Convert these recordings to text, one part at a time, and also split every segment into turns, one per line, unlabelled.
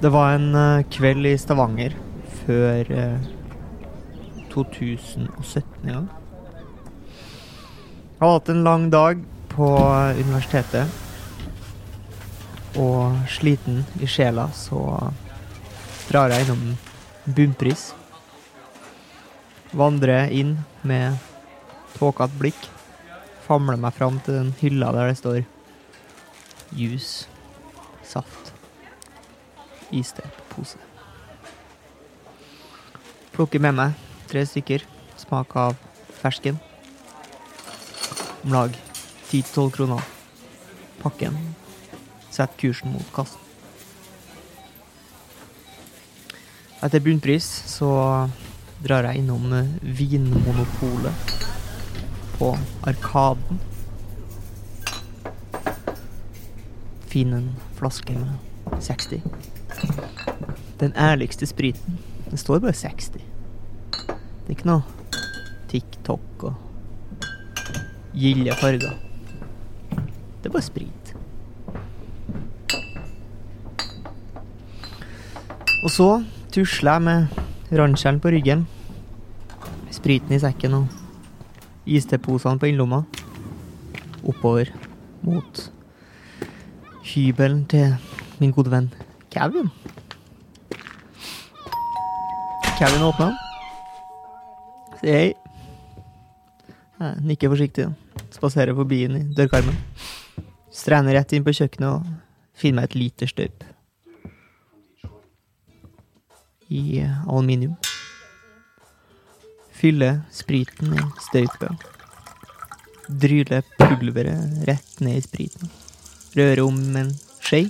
Det var en eh, kveld i Stavanger før eh, 2017 en gang. Jeg har hatt en lang dag på eh, universitetet. Og sliten i sjela, så drar jeg innom Bunnpris. Vandrer inn med tåkete blikk. Famler meg fram til den hylla der det står juice, saft iste på pose. Plukker med meg tre stykker. Smak av fersken. Om lag 10-12 kroner. Pakken. Sett kursen mot kassen. Etter bunnpris så drar jeg innom eh, Vinmonopolet på Arkaden. Finner en flaske med 60. Den ærligste spriten. Det står bare 60. Det er ikke noe TikTok og gilde farger. Det er bare sprit. Og så tusler jeg med ranskjellen på ryggen, spriten i sekken og isteposene på innlomma oppover mot hybelen til min gode venn Kevin. Kevin åpna den. Sier hei. Jeg nikker forsiktig. Spaserer forbi den i dørkarmen. Strener rett inn på kjøkkenet og finner meg et lite støyp. I eh, aluminium. Fyller spriten i støypet. Dryler pulveret rett ned i spriten. Rører om med en skje,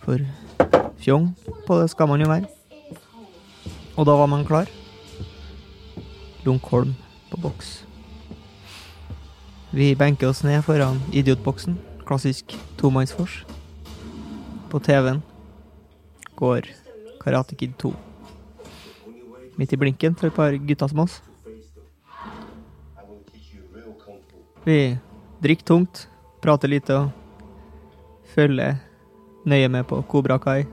for fjong på det skal man jo være. Og da var man klar. Lunkholm på boks. Vi benker oss ned foran idiotboksen. Klassisk tomannsfors. På TV-en går Karate Kid 2. Midt i blinken for et par gutter som oss. Vi drikker tungt, prater lite og følger nøye med på Kobra Kai,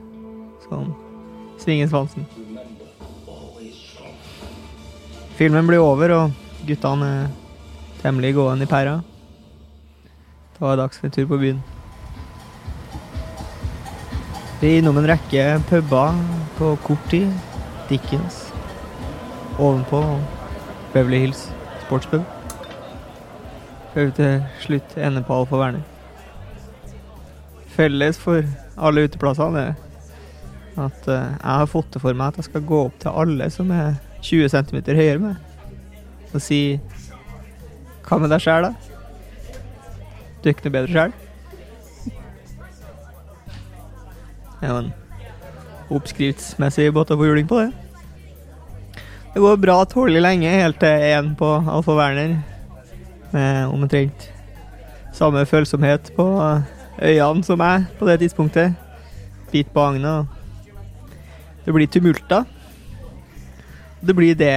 som svinger svansen. Filmen blir over, og guttene er temmelig gående i pæra. Da er det dags for en tur på byen. Vi er innom en rekke puber på kort tid. Dickens. Ovenpå Beverly Hills sportspub. Før vi til slutt ender på Alfa Werner. Felles for alle uteplassene er at eh, jeg har fått det for meg at jeg skal gå opp til alle som er 20 cm høyere enn meg, og si Hva med deg sjæl, da? Du er ikke noe bedre sjæl? Det er jo en oppskriftsmessig måte å få juling på, det. Det går bra tålelig lenge, helt til én på Alfa Werner med omtrent samme følsomhet på øynene som meg på det tidspunktet. Bit på agnet og det blir tumulter. Det blir det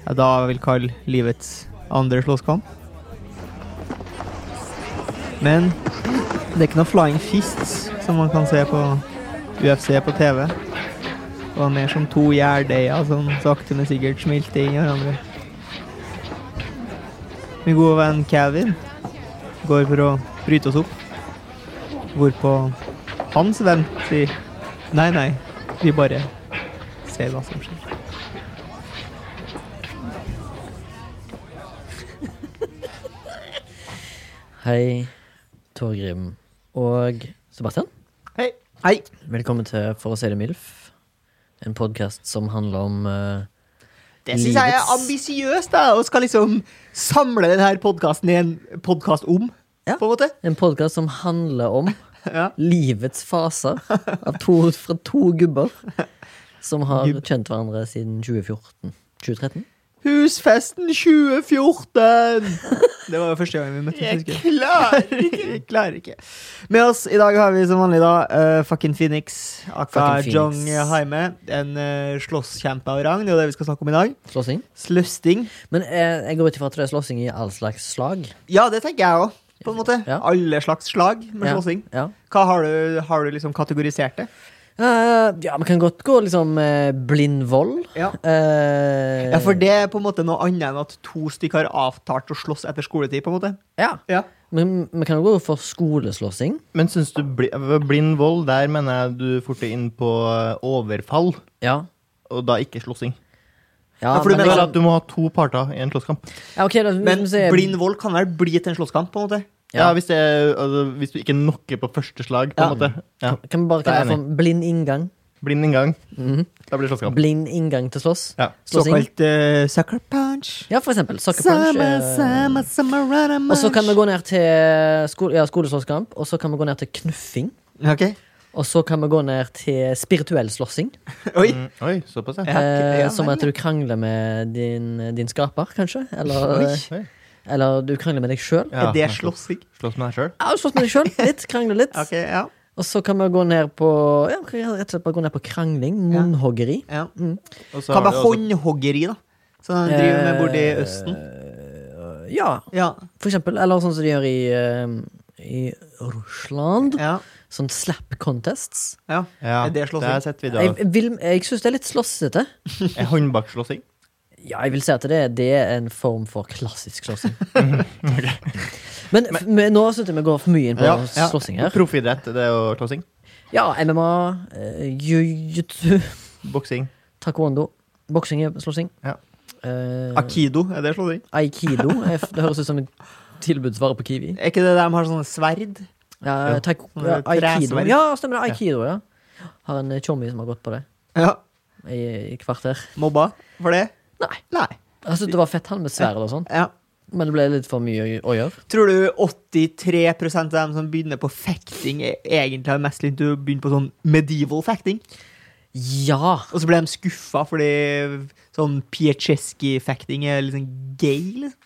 jeg da vil kalle livets andre slåsskamp. Men det er ikke noe flying fists som man kan se på UFC på TV. Det var mer som to gjærdeiger som sakte, men sikkert smilte inn i hverandre. Min gode venn Kevin går for å bryte oss opp, hvorpå hans venn sier Nei, nei. Vi bare ser hva som skjer.
Hei, Torgrim og Sebastian.
Hei. Hei.
Velkommen til For å si det MILF, en podkast som handler om eh,
Det syns jeg er
Livets-
ambisiøst, da. Og skal liksom samle denne podkasten i en podkast om,
Ja.
på en måte.
En podkast som handler om
Ja.
Livets faser av to, fra to gubber som har
Gubb.
kjent hverandre siden 2014. 2013?
Husfesten 2014! Det var jo første gang vi møttes.
Jeg
husker jeg.
klarer
Jeg klarer ikke. Med oss i dag har vi som vanlig da eh, fucking Phoenix, aka
Fucking Phoenix.
Jong Haime. En eh, slåsskjempe av rang. Det er jo det vi skal snakke om i dag.
Slåssing?
Sløsting.
Men eh, jeg går ut ifra at det er slåssing i all slags slag.
Ja, det tenker jeg òg, på en måte.
Ja.
Alle slags slag med
Ja.
slåssing.
Ja.
Hva har du, har du liksom kategorisert det?
Eh, ja, vi kan godt gå liksom eh, blind vold.
Ja.
Eh,
Ja, For det er på en måte noe annet enn at to stykker har avtalt å slåss etter skoletid. på en måte
Ja.
Ja,
Men vi kan jo gå for skoleslåssing.
Men syns du bli, ved blind vold, der mener jeg du fort er inn på eh, overfall,
Ja.
og da ikke slåssing.
Ja,
Ja, for du
men
mener sånn
Eller
liksom-
at du må ha to parter i en slåsskamp.
ja, ok, da, hvis
Men
vi sier-
blind vold kan vel bli til en slåsskamp, på en måte?
Ja.
Ja, hvis, det, er- altså, hvis du ikke knocker på første slag, på en
Ja.
måte. Ja.
Kan vi bare
Det er
kalle det for blind inngang?
Blind inngang,
Mhm.
da blir det slåsskamp.
Blind inngang til slåss?
Ja.
Slåssing?
Såkalt eh, sucker punch.
Ja, for eksempel. Sucker punch.
Summer,
eh,
summer, summer, run and
Og så kan vi
munch.
gå ned til sko ja, skoleslåsskamp, og så kan vi gå ned til knuffing.
Ok.
Og så kan vi gå ned til spirituell slåssing,
Oi.
Mm, oi, såpass, ja.
Ja, ok, ja,
eh, som
vel,
at du krangler med din, din skaper, kanskje. Eller,
Oi.
eller du krangler med deg sjøl.
Ja,
er det
nettopp.
slåssing?
Slåss med deg sjøl?
Ja, slåss med deg sjøl litt, krangle litt.
Ok, ja.
Og så kan vi gå ned på Ja, vi kan rett og slett bare gå ned på krangling. Munnhoggeri.
ja.
Og så
Hva
har
med
du også-
håndhoggeri, da? Som de driver med borti
Eh,
Østen?
Ja,
Ja.
for eksempel. Eller sånn som de gjør i, eh, i Russland.
ja.
Sånn slap contests.
ja.
Ja,
Er det slåssing?
har jeg sett videoer
Jeg,
av.
jeg vil- jeg syns det er litt slåssete.
Er Håndbakslåssing.
Ja, jeg vil si at det, det er en form for klassisk slåssing.
Mhm,
Men, f- men nå syns jeg vi går for mye inn på
Ja,
ja.
slåssing her.
Proffidrett, det er jo slåssing.
Ja, MMA, eh, jiu-jitsu,
Boksing.
taekwondo, boksing er slåssing.
Ja.
Eh,
Akido, er det slåssing?
Aikido. er f- Det høres ut som et tilbudsvare på Kiwi.
Er ikke det der de har sånne sverd?
Ja,
Ja.
taik-
Sånn
ja, Aikido.
tresverd.
Ja, stemmer det. Aikido, ja. Har en eh, tjommi som har gått på det
Ja.
i, i kvarter.
Mobba for det?
Nei.
Nei.
Jeg syntes det var fett han med sverd og sånn,
Ja.
men det ble litt for mye å gjøre.
Tror du 83 av dem som begynner på fekting, er- egentlig har mest lyst til å begynne på sånn medieval fekting?
Ja!
Og så ble de skuffa fordi sånn Piacheski-fekting er liksom gay, liksom.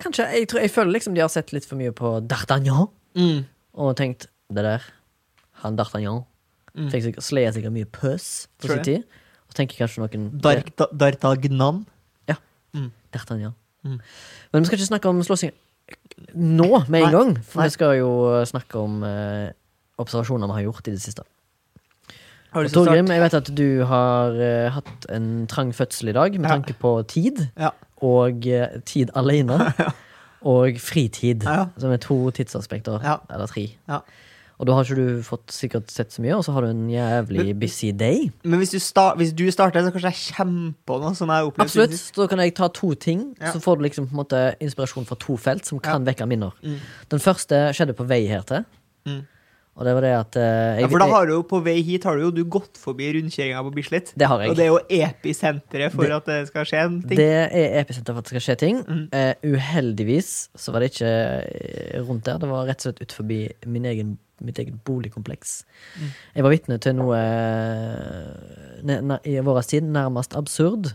Kanskje. Jeg, tror, jeg føler liksom de har sett litt for mye på D'Artagnan
Mm.
og tenkt det der Han D'Artagnan
Mm.
fikk sikkert, slet sikkert mye pøs på
Tror
sin tid. Og tenker kanskje noen
Dark, da, Dartagnan.
D'Artagnan.
Mm.
Men vi skal ikke snakke om slåssing nå med
Nei.
en gang. For
Nei.
vi skal jo snakke om eh, observasjoner vi har gjort i det siste.
Har du lyst til å starte?
Torgrim, jeg vet at du har eh, hatt en trang fødsel i dag med
Ja.
tanke på tid.
Ja.
Og eh, tid alene. Og fritid.
Ja, ja.
Som er to tidsaspekter.
Ja.
Eller tre.
Ja.
Og da har ikke du fått sikkert sett så mye, og så har du en jævlig busy day.
Men hvis du, sta hvis du starter, så kanskje jeg kommer på noe som jeg har opplevd.
Absolutt.
siden sist.
Så da kan jeg ta to ting,
Ja.
så får du liksom på en måte inspirasjon fra to felt som kan vekke minner.
Mm.
Den første skjedde på vei her til.
Mm.
Og det var det at eh, jeg,
Ja, for da
jeg-
har du jo på vei hit har du jo du gått forbi rundkjøringa på Bislett.
det har jeg.
Og det er jo episenteret for
Det-
at det skal skje en ting.
Det er episenter for at det skal skje ting. Eh, uheldigvis så var det ikke eh, rundt der. Det var rett og slett ut forbi min egen, mitt eget boligkompleks. Jeg var vitne til noe eh, ne- ne- i vår tid nærmest absurd.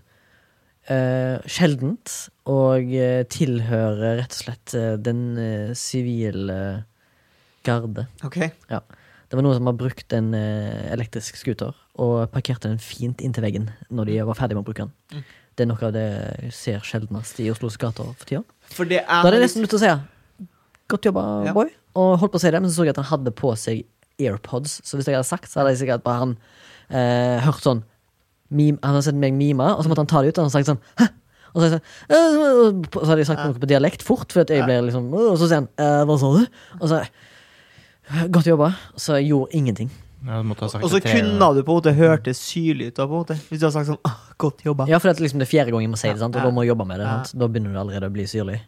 Eh, sjeldent. Og eh, tilhører rett og slett eh, den eh, sivile garde.
Ok,
Ja. Det var noen som har brukt en eh, elektrisk scooter og parkerte den fint inntil veggen når de var ferdig med å bruke den. Det er noe av det jeg ser sjeldnest i Oslos gater for tida.
For det
Da hadde
er
jeg nesten lyst til å si godt jobba,
Ja.
boy. Og holdt på å si det, men så så jeg at han hadde på seg AirPods. Så hvis jeg hadde sagt, så hadde jeg sikkert bare han eh, hørt sånn mim, Han hadde sett meg mime, og så måtte han ta det ut, og han hadde sagt sånn Hæ? Og så, hadde jeg sagt, «Øh», og så hadde jeg sagt noe på dialekt fort, fordi at jeg ble liksom «Øh», Og så sier han «Eh, Hva sa du? Og så Godt jobba. Så jeg gjorde ingenting.
Ja, du måtte ha sagt
Og så
det tre ganger.
kunne du på en måte hørt det syrlig ut av, på en måte. Hvis du hadde sagt sånn ah, 'godt jobba'.
Ja, for det er liksom det er fjerde gang jeg må si det, sant? og
Ja.
da må jeg jobbe med det.
Ja.
Sant? Da begynner det allerede å bli syrlig.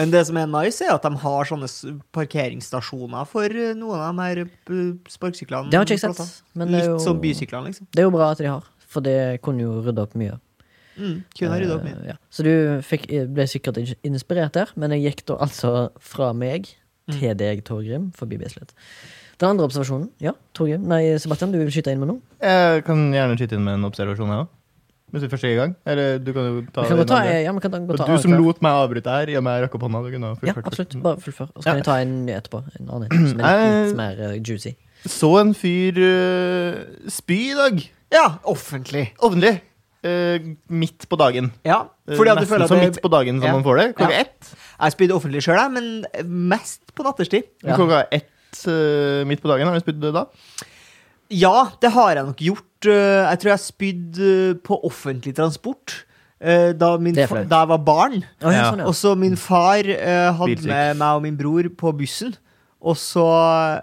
Men det som er nice, er at de har sånne s- parkeringsstasjoner for eh, noen av de her eh, sparkesyklene.
Det har ikke jeg sett,
plassene.
men det er
Litt
jo-
som bysyklene, liksom.
Det er jo bra at de har, for det kunne jo rydda opp mye.
Mm, kunne ha rydda opp mye.
Eh, ja. Så du fikk, ble sikkert in- inspirert der, men jeg gikk da altså fra meg til deg, Torgrim, forbi Bislett. Den andre observasjonen Ja, Torgrim. Nei, Sebastian, du vil skyte inn med noe?
Jeg kan gjerne skyte inn med en observasjon, jeg òg. Hvis du først er i gang. Eller du kan jo ta
Vi kan
den
godt ta,
andre.
ja, vi kan ta, godt ta
Og du som
avklart.
lot meg avbryte her, i og med jeg rakk opp hånda. Du kunne ha
Ja,
fullført liksom. først.
absolutt. Bare fullfør. Og så kan jeg ta en ny etterpå. En annen en som er litt, litt mer eh, juicy.
Så en fyr eh, spy i dag.
Ja, offentlig.
Offentlig. Eh, midt på dagen.
Ja,
Eh,
fordi at du
Nesten
føler
så
at
midt
det,
på dagen som
Ja.
man får det. Klokka
Ja.
ett.
jeg spydde offentlig sjøl, men mest på nattestid.
Ja.
Klokka ett eh, midt på dagen. Har du spydd da?
Ja, det har jeg nok gjort. Eh, Jeg tror jeg spydde eh, på offentlig transport. eh, Da, min
Det er
fa-
flaut.
da jeg var barn.
Å, ja,
Ja.
sånn, ja.
Og så min far eh, hadde
Bilsyk.
med meg og min bror på bussen. Og så,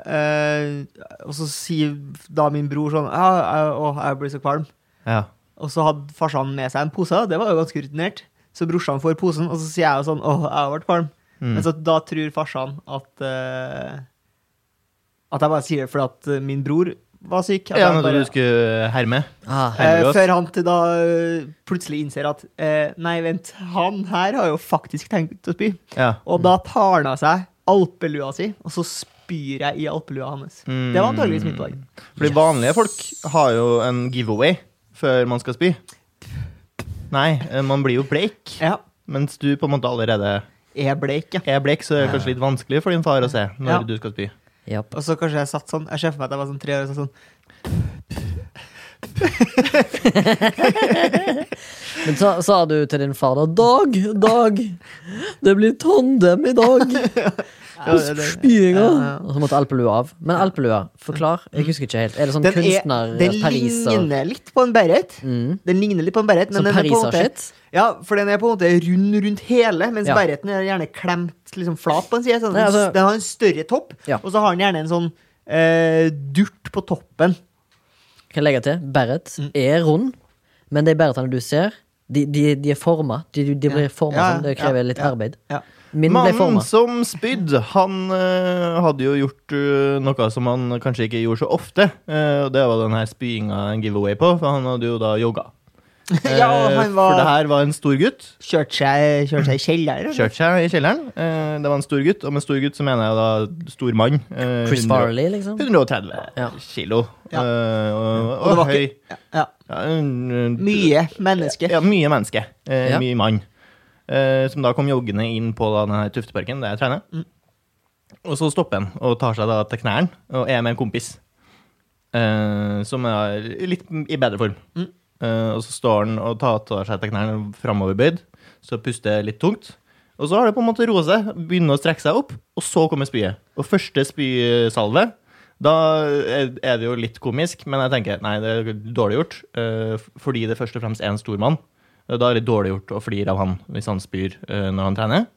eh, og så sier da min bror sånn «Ja, jeg- Å, jeg blir så kvalm.
Ja.
Og så hadde farsan med seg en pose, og det var jo ganske rutinert. Så brorsan får posen, og så sier jeg jo sånn Å, jeg har vært kvalm.
Mm.
Men så da tror farsan at eh, At jeg bare sier det fordi at eh, min bror var syk. At
ja,
jeg
noe
bare,
du skulle herme.
Ah,
eh,
Helvete.
før han til da eh, plutselig innser at eh, Nei, vent, han her har jo faktisk tenkt å spy.
Ja.
Og da tar han av seg alpelua si, og så spyr jeg i alpelua hans.
Mm.
Det var antakeligvis mitt valg.
Fordi vanlige folk har jo en giveaway før man skal spy. Nei, eh, man blir jo bleik.
Ja.
Mens du på en måte allerede
Jeg er bleik, ja.
er bleik, så er det kanskje litt vanskelig for din far å se når
Ja.
du skal spy.
ja.
Og så kanskje jeg satt sånn Jeg ser for meg at jeg var sånn tre år og satt sånn
Men sa, sa du til din far da Dag, Dag, det blir tandem i dag. Og
Ja, det-
spyinga.
Ja, ja.
Og så måtte alpelua av. Men alpelua, forklar. Jeg husker ikke helt. Er det sånn
Den, er, den
kunstner-pariser?
ligner litt på en beret.
Mm.
Den ligner litt på en beret, men
Sånn
den er på en måte,
pariser-shit?
ja, for den er på en måte rund rundt hele, mens
Ja.
bereten er gjerne klemt liksom flat på en side. Sånn, at
Nei, altså-
den- den har en større topp,
Ja.
og så har den gjerne en sånn eh, durt på toppen.
Kan jeg legge til? Beret
Mm.
er rund, men de beretene du ser, de, de, de er forma. De, de blir forma
Ja,
sånn. Det
ja,
krever litt
ja.
arbeid.
Ja.
Min ble
Mannen
forma.
som spydde, han eh, hadde jo gjort eh, noe som han kanskje ikke gjorde så ofte. eh, og det var den her spyinga en giveaway på, for han hadde jo da jogga.
Ja, og
Eh,
han var-
For det her var en stor gutt.
Kjørte seg, kjørt seg i kjelleren.
Kjørte seg i kjelleren. Eh, det var en stor gutt, og med stor gutt så mener jeg da stor mann. eh,
Chris
100
Farley, liksom.
130
Ja.
kilo.
Ja.
eh, og
Og det
og,
var
høy.
Ja.
Ja, en- en-
Mye menneske.
Ja, mye menneske. Eh,
Ja.
Mye mann. Eh, som da kom joggende inn på da, denne Tufteparken, der jeg trener. Og så stopper han og tar seg da til knærne, og er med en kompis. Eh, som er litt i bedre form. Eh, og så står han og tar, tar seg til knærne framoverbøyd, så puster litt tungt. Og så har det på en måte roet seg, begynner å strekke seg opp, og så kommer spyet. Og første spysalve da er er det jo litt komisk, men jeg tenker nei, det er dårlig gjort. eh, f- Fordi det først og fremst er en stor mann. Eh, Da er det dårlig gjort å flire av han hvis han spyr eh, når han trener.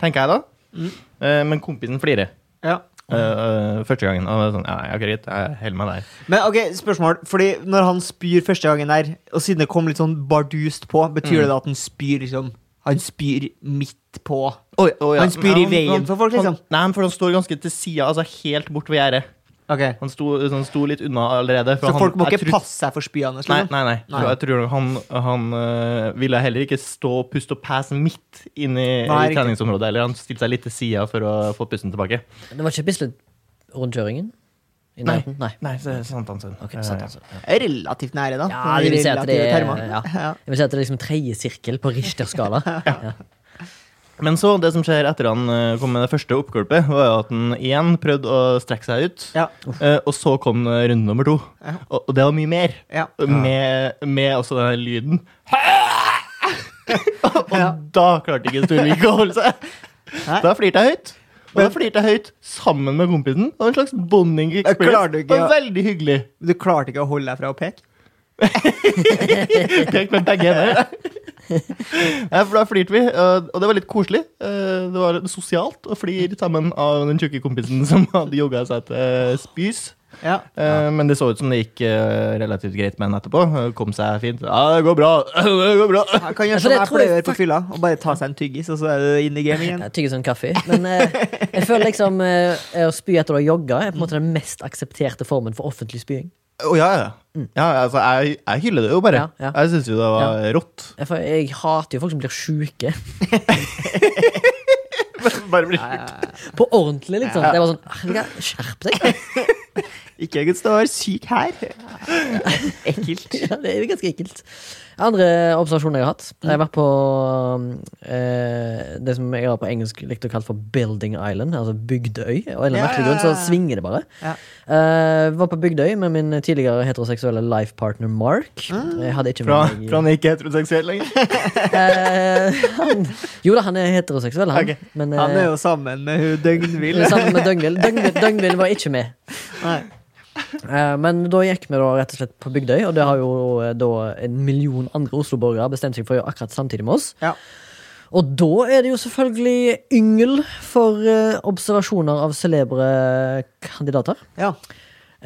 Tenker jeg da.
Mm.
Eh, Men kompisen flirer
Ja.
eh,
Mm.
eh, første gangen. Og jeg er sånn, ja, ja, greit, jeg holder meg der.
Men ok, spørsmål. Fordi når han spyr første gangen der, og siden det kom litt sånn bardust på, betyr
Mm.
det da at han spyr liksom Han spyr midt på? Han spyr i
Men
veien for folk, liksom.
Han, nei, for han står ganske til sida, altså helt bort ved gjerdet.
Ok
Han sto, så han sto litt unna allerede. for
Så
han,
folk må
jeg
ikke
tror-
passe seg for spyene?
Nei,
Liksom.
nei, nei.
Nei.
Jeg tror han, han øh, ville heller ikke stå og puste og passe midt inn
Nei,
i, i
riktig.
treningsområdet. Eller han stilte seg litt til sida for å få pusten tilbake.
Det var ikke Bislett-rundkjøringen? I
Nei.
nærheten? Nei.
Nei, så Sankthanshund.
Ok, sant, altså.
Eh,
Ja.
Relativt nære, da.
Ja, det vil si at det
Relative
er-
termer.
ja.
Ja.
Jeg vil si at det er liksom tredje sirkel på Richter-skala. Ja.
Men så, det som skjer etter han øh, kom med det første oppgulpet, var jo at han igjen prøvde å strekke seg ut.
Ja.
Eh, og så kom øh, runde nummer to.
Ja.
Og, og det var mye mer.
Ja.
Med, med også den lyden. og
Ja.
da klarte ikke Storvik å holde seg.
Nei.
Da flirte jeg høyt. Og da
Men-
flirte jeg høyt sammen med kompisen. Og en slags bonding
klarer du
experience.
ikke
Det var
å-
veldig hyggelig.
Du klarte ikke å holde deg fra å peke?
Pekt med begge hender. Ja, for da flirte vi, og og det var litt koselig. Eh, Det var sosialt å flire sammen av den tjukke kompisen som hadde jogga seg til spys.
Ja.
Eh, Men det så ut som det gikk eh, relativt greit med den etterpå. Eh, Kom seg fint. Ja, det går bra. Det går bra.
Jeg kan gjøre
for
som
Altså, det tror jeg
jeg pleier å gjøre på fylla, og bare ta seg en tyggis, og så er du inn i gamet igjen.
Jeg tygger sånn kaffe. Men eh, jeg føler liksom eh, å spy etter å ha jogga er på en måte den mest aksepterte formen for offentlig spying.
Å ja, ja. ja altså, jeg, jeg hyller det jo bare.
Ja, Mm. ja.
Jeg syns jo det var rått.
Jeg, for jeg hater jo folk som blir sjuke.
Bare bli
Nei, nei, nei.
På ordentlig, liksom.
Ja.
Det var sånn «Ah, men hva- Skjerp deg!
Ikke jeg skal være syk her. Ekkelt.
Ja, det er jo ganske ekkelt. Andre observasjoner jeg har hatt Jeg har vært på eh, det som jeg har på engelsk likt å kalle for Building Island, altså Bygdøy. Og av en eller annen
Ja.
merkelig grunn så svinger det bare.
Ja.
Eh, var på Bygdøy med min tidligere heteroseksuelle life partner Mark.
Ah.
Jeg hadde ikke
fra,
med meg-
fra han er ikke heteroseksuell lenger.
Eh, han, jo da, han er heteroseksuell, han.
Ok.
Men eh,
Han er jo sammen med hun døgnvill.
sammen med Døgnvill. Døgnvill, Døgnvill var ikke med.
Nei.
Eh, men da gikk vi da rett og slett på Bygdøy, og det har jo eh, da en million andre Oslo-borgere bestemt seg for å gjøre akkurat samtidig med oss.
Ja.
Og da er det jo selvfølgelig yngel for eh, observasjoner av celebre kandidater.
ja.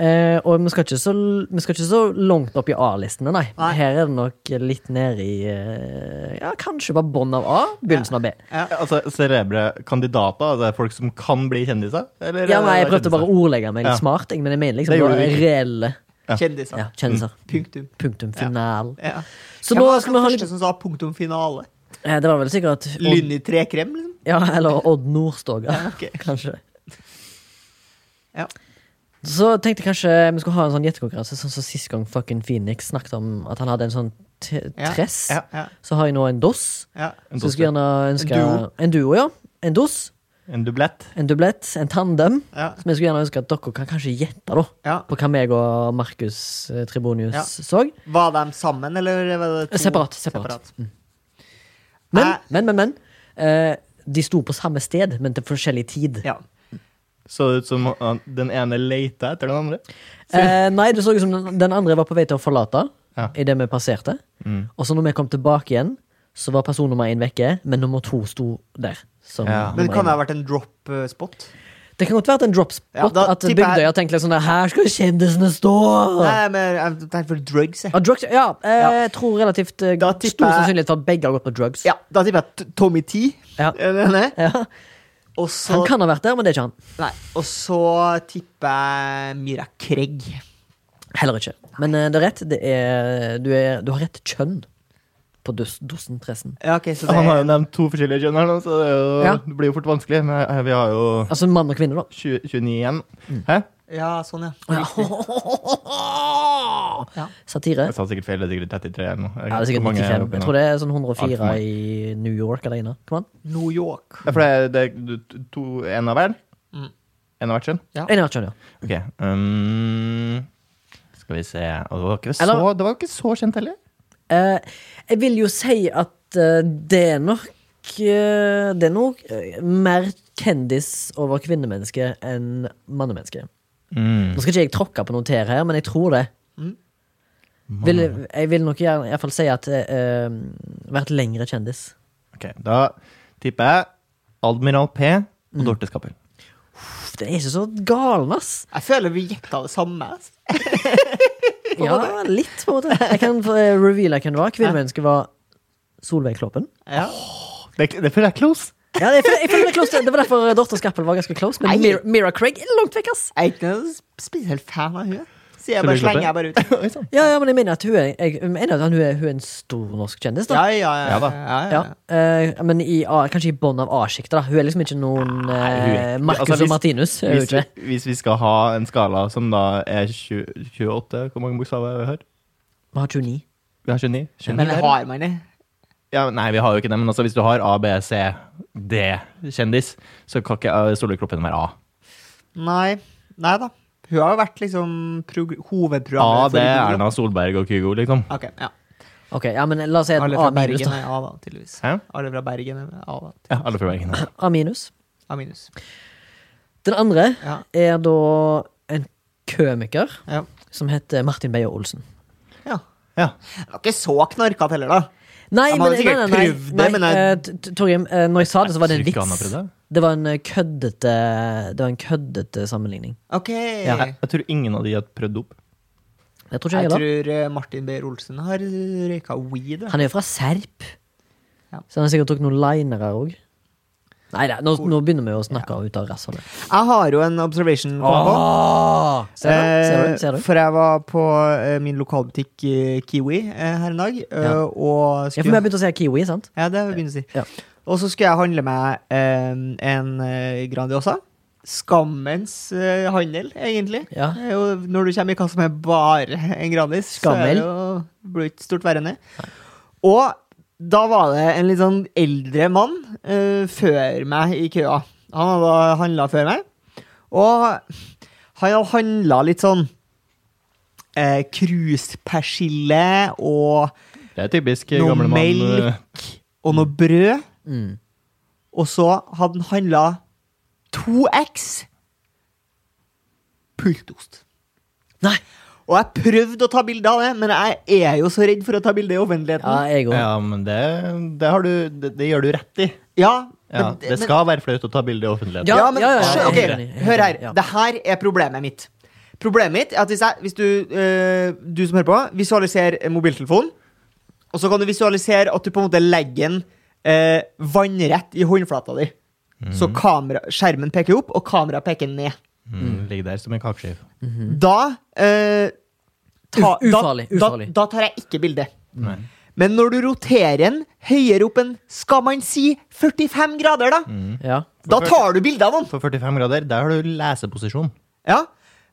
Eh, og vi skal, ikke så, vi skal ikke så langt opp i A-listene, nei.
Nei.
Her er det nok litt nede i eh, Ja, kanskje bare bånn av A, begynnelsen av B.
Altså, Cerebre kandidater, altså det er folk som kan bli kjendiser? Eller,
Ja, nei,
er
jeg
det
prøvde bare å ordlegge meg
Ja.
litt smart, jeg, men jeg mener liksom
Det gjorde
bare
du ikke.
reelle
Ja.
Kjendiser.
ja, kjendiser.
Punktum.
Punktum final.
Mm. Ja.
Så
Hvem
nå
var
skal vi
den
ha litt
første som sa punktum finale?
eh, Det var vel sikkert Odd,
Lynn i trekrem, liksom?
ja, eller Odd Nordstoga,
Ja, ok.
kanskje.
Ja.
Så tenkte jeg kanskje vi skulle ha en sånn gjettekonkurranse, sånn som sist gang fucking Phoenix snakket om at han hadde en sånn t
Ja.
tress.
Ja. Ja.
Så har jeg nå en dos.
Ja.
En
så skulle jeg gjerne ønske
En duo.
En duo, ja. En dos,
En dublett?
en dublett, en tandem.
Ja.
Som jeg skulle gjerne ønske at dere kan kanskje gjette, da.
ja.
På hva meg og Markus eh, Tribonius
Ja.
så.
Var de sammen, eller var det to?
Separat, separat. Men,
Jeg-
men, men, men eh, De sto på samme sted, men til forskjellig tid.
Ja.
Så ut som han- den ene leita etter den andre?
Eh, nei, det så ut som den- den andre var på vei til å forlate
Ja.
idet vi passerte.
Mm.
Og så når vi kom tilbake igjen, så var person nummer én vekke, men nummer to sto der. som
Ja.
nummer
Men det kan det
én.
ha vært en drop eh, spot?
det kan godt være en drop spot.
Ja, da
at
tipper jeg-
Bygdøy har tenkt litt sånn der, Her skal kjendisene stå!
Nei, men jeg tenkte for drugs, jeg.
Ja, drugs, ja, eh,
Ja.
jeg tror relativt eh,
Da
stor
tipper jeg-
sannsynlighet for at begge har gått på drugs.
Ja, da tipper jeg T- Tommy T.
Ja.
Eller henne.
Ja.
Og så,
Han kan ha vært der, men det er ikke han.
nei, og så tipper jeg Mira Craig.
Heller ikke. Men eh, det er rett. Det er, du, er, du har rett kjønn på dus, dosen-pressen.
Ja, ok, så det
Han har jo nevnt to forskjellige kjønn her nå, så det, er jo,
Ja.
det blir jo fort vanskelig. Men eh, vi har jo
Altså mann og kvinne, da.
20, 29 igjen.
Mm.
Hæ?
Ja, sånn, ja. Ja.
Satire.
Jeg sa sikkert feil. Det er sikkert 33 eller noe.
Ja, det er sikkert
Hvor mange er
95.
oppe
Jeg
nå?
tror det er sånn
Alt
104
for mange.
i New York alene. Kom an.
New York.
Ja, for det, det er du- to, en av hver?
Mm.
En av hvert kjønn?
Ja.
En av kjønn, ja.
Ok. Um, skal vi se Og det var ikke så,
Eller-
det var ikke så kjent heller.
Eh, jeg vil jo si at eh, det er nok eh, Det er nok eh, mer kjendis over kvinnemenneske enn mannemenneske.
Mm.
Nå skal ikke jeg tråkke på noen tær her, men jeg tror det. Vil, jeg vil nok gjerne i hvert fall si at eh, vært lengre kjendis.
Ok, Da tipper jeg Admiral P og Dorte Skappel.
Uff, det er ikke så galen, ass.
Jeg føler vi gjetta det samme. ass.
Ja, litt, på en måte. Jeg kan eh, reveale hvem det var. Kvinnemennesket var Solveig Kloppen.
Ja.
Det, det føler jeg er close.
Ja, jeg føler, jeg føler det, er close. det var derfor Dorthe Skappel var ganske close. Men
Nei.
Mira, Mira Craig er langt vekk, ass.
Jeg er ikke noen spesiell fan av henne. Så jeg
Så
bare
du klapper?
slenger jeg bare ut.
Oi sånn. sann.
Ja, ja, men jeg mener at hun er, jeg mener at hun er, hun er en stor norsk kjendis, da.
Ja, ja, ja.
Ja da.
ja, ja,
Ja,
ja.
eh, men i, A- kanskje i bånn av A-sjiktet, da. Hun er liksom ikke noen eh,
Nei, hun er-
Marcus
altså, hvis-
og Martinus. er hun
Hvis,
ikke.
hvis vi skal ha en skala som da er 20, 28 Hvor mange bokstaver har vi?
Vi har 29.
Vi har 29? 29
Men
der.
har man det?
ja, nei, vi har jo ikke det. Men altså, hvis du har A, B, C, D-kjendis, så kan ikke eh, Solveig Kloppen være A.
Nei. Nei da. Hun har jo vært liksom prog- hovedprogrammet
A, det er
Google.
Erna Solberg og Kygo, liksom.
Ok, ja.
Ok, ja, men la oss si et
Alle fra
A-minus,
Bergen
da.
er A, da, tydeligvis.
Hæ?
Alle fra Bergen er A, da.
Ja, alle fra Bergen.
A-minus.
A minus.
Den andre
Ja.
er da en komiker
ja.
som heter Martin Beyer-Olsen.
ja.
Ja.
Det var ikke så knarkete heller, da.
Nei,
Ja,
men,
men han har
nei, nei,
sikkert
nei,
prøvd det,
nei,
men jeg-
eh, T- T- Torgrim, eh, når jeg sa det, så var det en
Jeg tror ikke han har
vits.
prøvd det.
Det var en eh, køddete Det var en køddete sammenligning.
Ok. Eh.
Jeg, jeg tror ingen av de har prøvd dop.
Jeg tror ikke
Jeg
jeg,
tror eh, Martin Beyer-Olsen har røyka weed.
da.
da.
Han er jo fra Serp.
Ja.
Så han har sikkert tok noen linere òg. Nei da, nå, nå begynner vi å snakke ut av rassholdet.
Jeg har jo en observation. på han på.
Åh! Ah, Ser du? Ser
Eh,
du? Ser du?
For jeg var på eh, min lokalbutikk eh, Kiwi eh, her en dag, eh,
Ja.
og
Ja, for vi har
skulle
begynt å si kiwi, sant?
Ja, det har vi begynt å si.
Ja.
Og så skulle jeg handle meg eh, en eh, Grandiosa. Skammens eh, handel, egentlig.
Ja.
Det er jo når du kommer i kassa med bare en Grandis,
Skammel.
så er det jo- blir det ikke stort verre enn det. Og da var det en litt sånn eldre mann eh, før meg i køa. Han hadde handla før meg. Og han hadde handla litt sånn eh, kruspersille og
Det er typisk
Noe
gamle mann.
melk.
eh,
og noe brød.
Mm.
Og så hadde han handla 2X pultost.
Nei!
Og jeg prøvde å ta bilde av det, men jeg er jo så redd for å ta bilde i
Ja,
offentligheten.
jeg òg.
Ja, men det, det, har du, det, det gjør du rett i.
Ja,
Ja,
men-
det skal være flaut å ta bilde i offentligheten.
Ja,
Ja,
men
ja, ja,
ja,
skjø-
jeg
ok,
er helt
enig, helt
hør her.
enig, ja.
Det her er problemet mitt. Problemet mitt er at hvis, jeg, hvis du, eh, du som hører på, visualiserer en mobiltelefon, og så kan du visualisere at du på en måte legger den eh, vannrett i håndflata di. Så kamera, skjermen peker opp, og kameraet peker ned.
Mm, ligger der som en kakeskive.
Da, eh, ta,
Mhm. Uf- ufarlig,
da,
ufarlig.
Da, da tar jeg ikke bilde.
Nei.
Men når du roterer den høyere opp enn, skal man si, 45 grader, da,
Ja.
da tar du bilde av den.
Mm. For 45 grader, der har du leseposisjon.
Ja.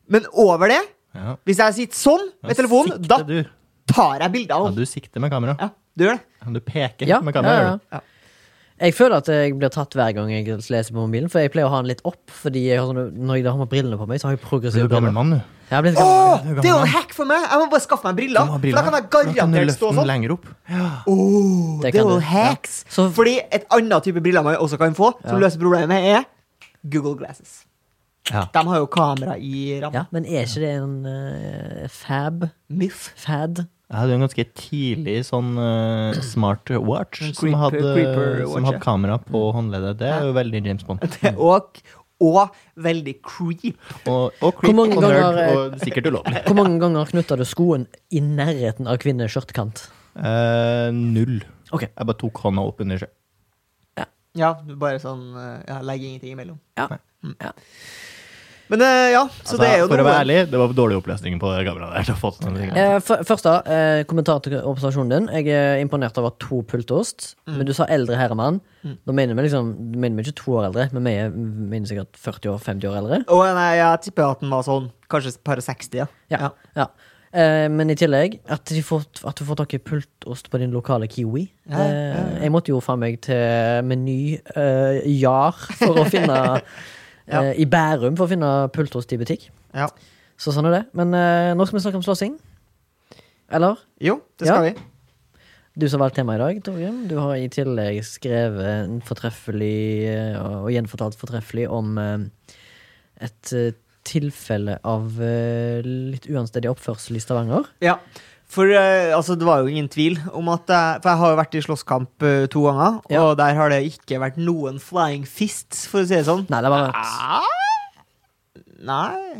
Men over det
Ja.
Hvis jeg sitter sånn med telefonen,
Sikter
da
du.
tar jeg bilde av
Ja,
den.
du sikter med kamera.
Ja, du gjør det.
Du peker
Ja,
med
ja,
kamera. gjør
ja.
du.
Ja.
Jeg føler at jeg blir tatt hver gang jeg leser på mobilen, for jeg pleier å ha den litt opp. Fordi jeg har sånne, Når jeg har med brillene på meg, så har jeg
Du er
progressive
jo gammel
briller.
mann, du.
Jeg har blitt gammel.
Å,
du er gammel
det er jo
mann.
en hack for meg! Jeg må bare skaffe meg
Du
briller.
må ha
For da kan jeg
briller. Da kan du
garantert
løfte
stå
den
sånn.
lenger opp.
Det
Oh, det er
kan
jo
du, ja.
hacks.
Så-
Fordi et annet type briller man også kan få, som
Ja.
løser problemet, er Google Glasses.
Ja.
De har jo kamera i rammen.
Ja, men er ikke det en eh, fab?
Myth.
Fad?
Jeg hadde jo en ganske tidlig sånn eh, smart watch
En
som,
creeper-
hadde,
creeper watch,
som
ja.
hadde kamera på håndleddet. Det er jo veldig James Bond.
Det- Og, og veldig creep.
Og, og creep
mange
og nerd
ganger, eh,
og sikkert ulovlig.
Hvor mange ganger knytta du skoen i nærheten av kvinnens skjørtekant?
Eh, null.
Ok.
Jeg bare tok hånda opp under seg.
Ja, du bare sånn eh, ja, Legger ingenting imellom.
Ja.
Men eh, ja, så
Altså,
det er jo
for å
noe.
være ærlig, det var dårlig oppløsning på det kameraet der. til å få til noe.
Eh, f- først, da. Eh, kommentar til observasjonen din. Jeg er imponert over to pultost.
Mm.
Men du sa eldre herremann. Da mener vi liksom Da mener vi ikke to år eldre, men vi er vi mener sikkert 40 år, 50 år eldre.
Å, nei, jeg tipper at den var sånn kanskje et par og 60, ja.
Ja. ja. Eh, men i tillegg, at, de får, at du får tak i pultost på din lokale Kiwi.
Ja, ja, ja.
Eh, jeg måtte jo faen meg til Meny eh, Jar for å finne
Ja.
eh, I Bærum for å finne pultost i butikk.
ja.
Så sånn er det. Men eh, nå skal vi snakke om slåssing. Eller?
Jo, det skal
Ja.
vi.
Du som valgte tema i dag, Torgrim. Du har i tillegg skrevet en fortreffelig eh, og gjenfortalt fortreffelig om eh, et eh, tilfelle av eh, litt uanstendig oppførsel i Stavanger.
Ja. For eh, altså, det var jo ingen tvil om at jeg, For jeg har jo vært i slåsskamp eh, to ganger,
Ja.
og der har det ikke vært noen flying fists, for å si det sånn.
Nei, det var et
Nei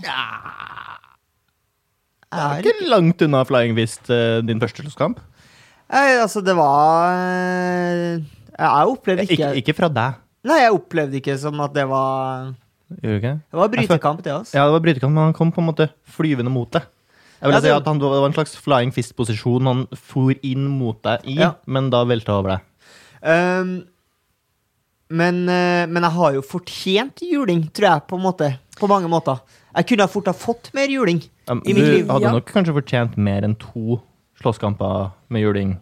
Det er
jeg,
ikke langt unna Flying Fist, eh, din første slåsskamp.
jeg, Altså, det var eh, Jeg opplevde ikke,
Ikke, ikke fra deg.
Nei, jeg opplevde ikke som at det var
Gjorde du ikke det?
Det var brytekamp, det, altså.
Ja, det var brytekamp, men han kom på en måte flyvende mot deg. Jeg vil
Ja, det-
si at han, Det var en slags flying fist-posisjon han for inn mot deg i,
Ja.
men da velta over deg.
Um, men, eh, men jeg har jo fortjent juling, tror jeg, på en måte. På mange måter. Jeg kunne fort ha fått mer juling
Um,
i
du
mitt liv.
hadde
ja.
nok kanskje fortjent mer enn to slåsskamper med juling,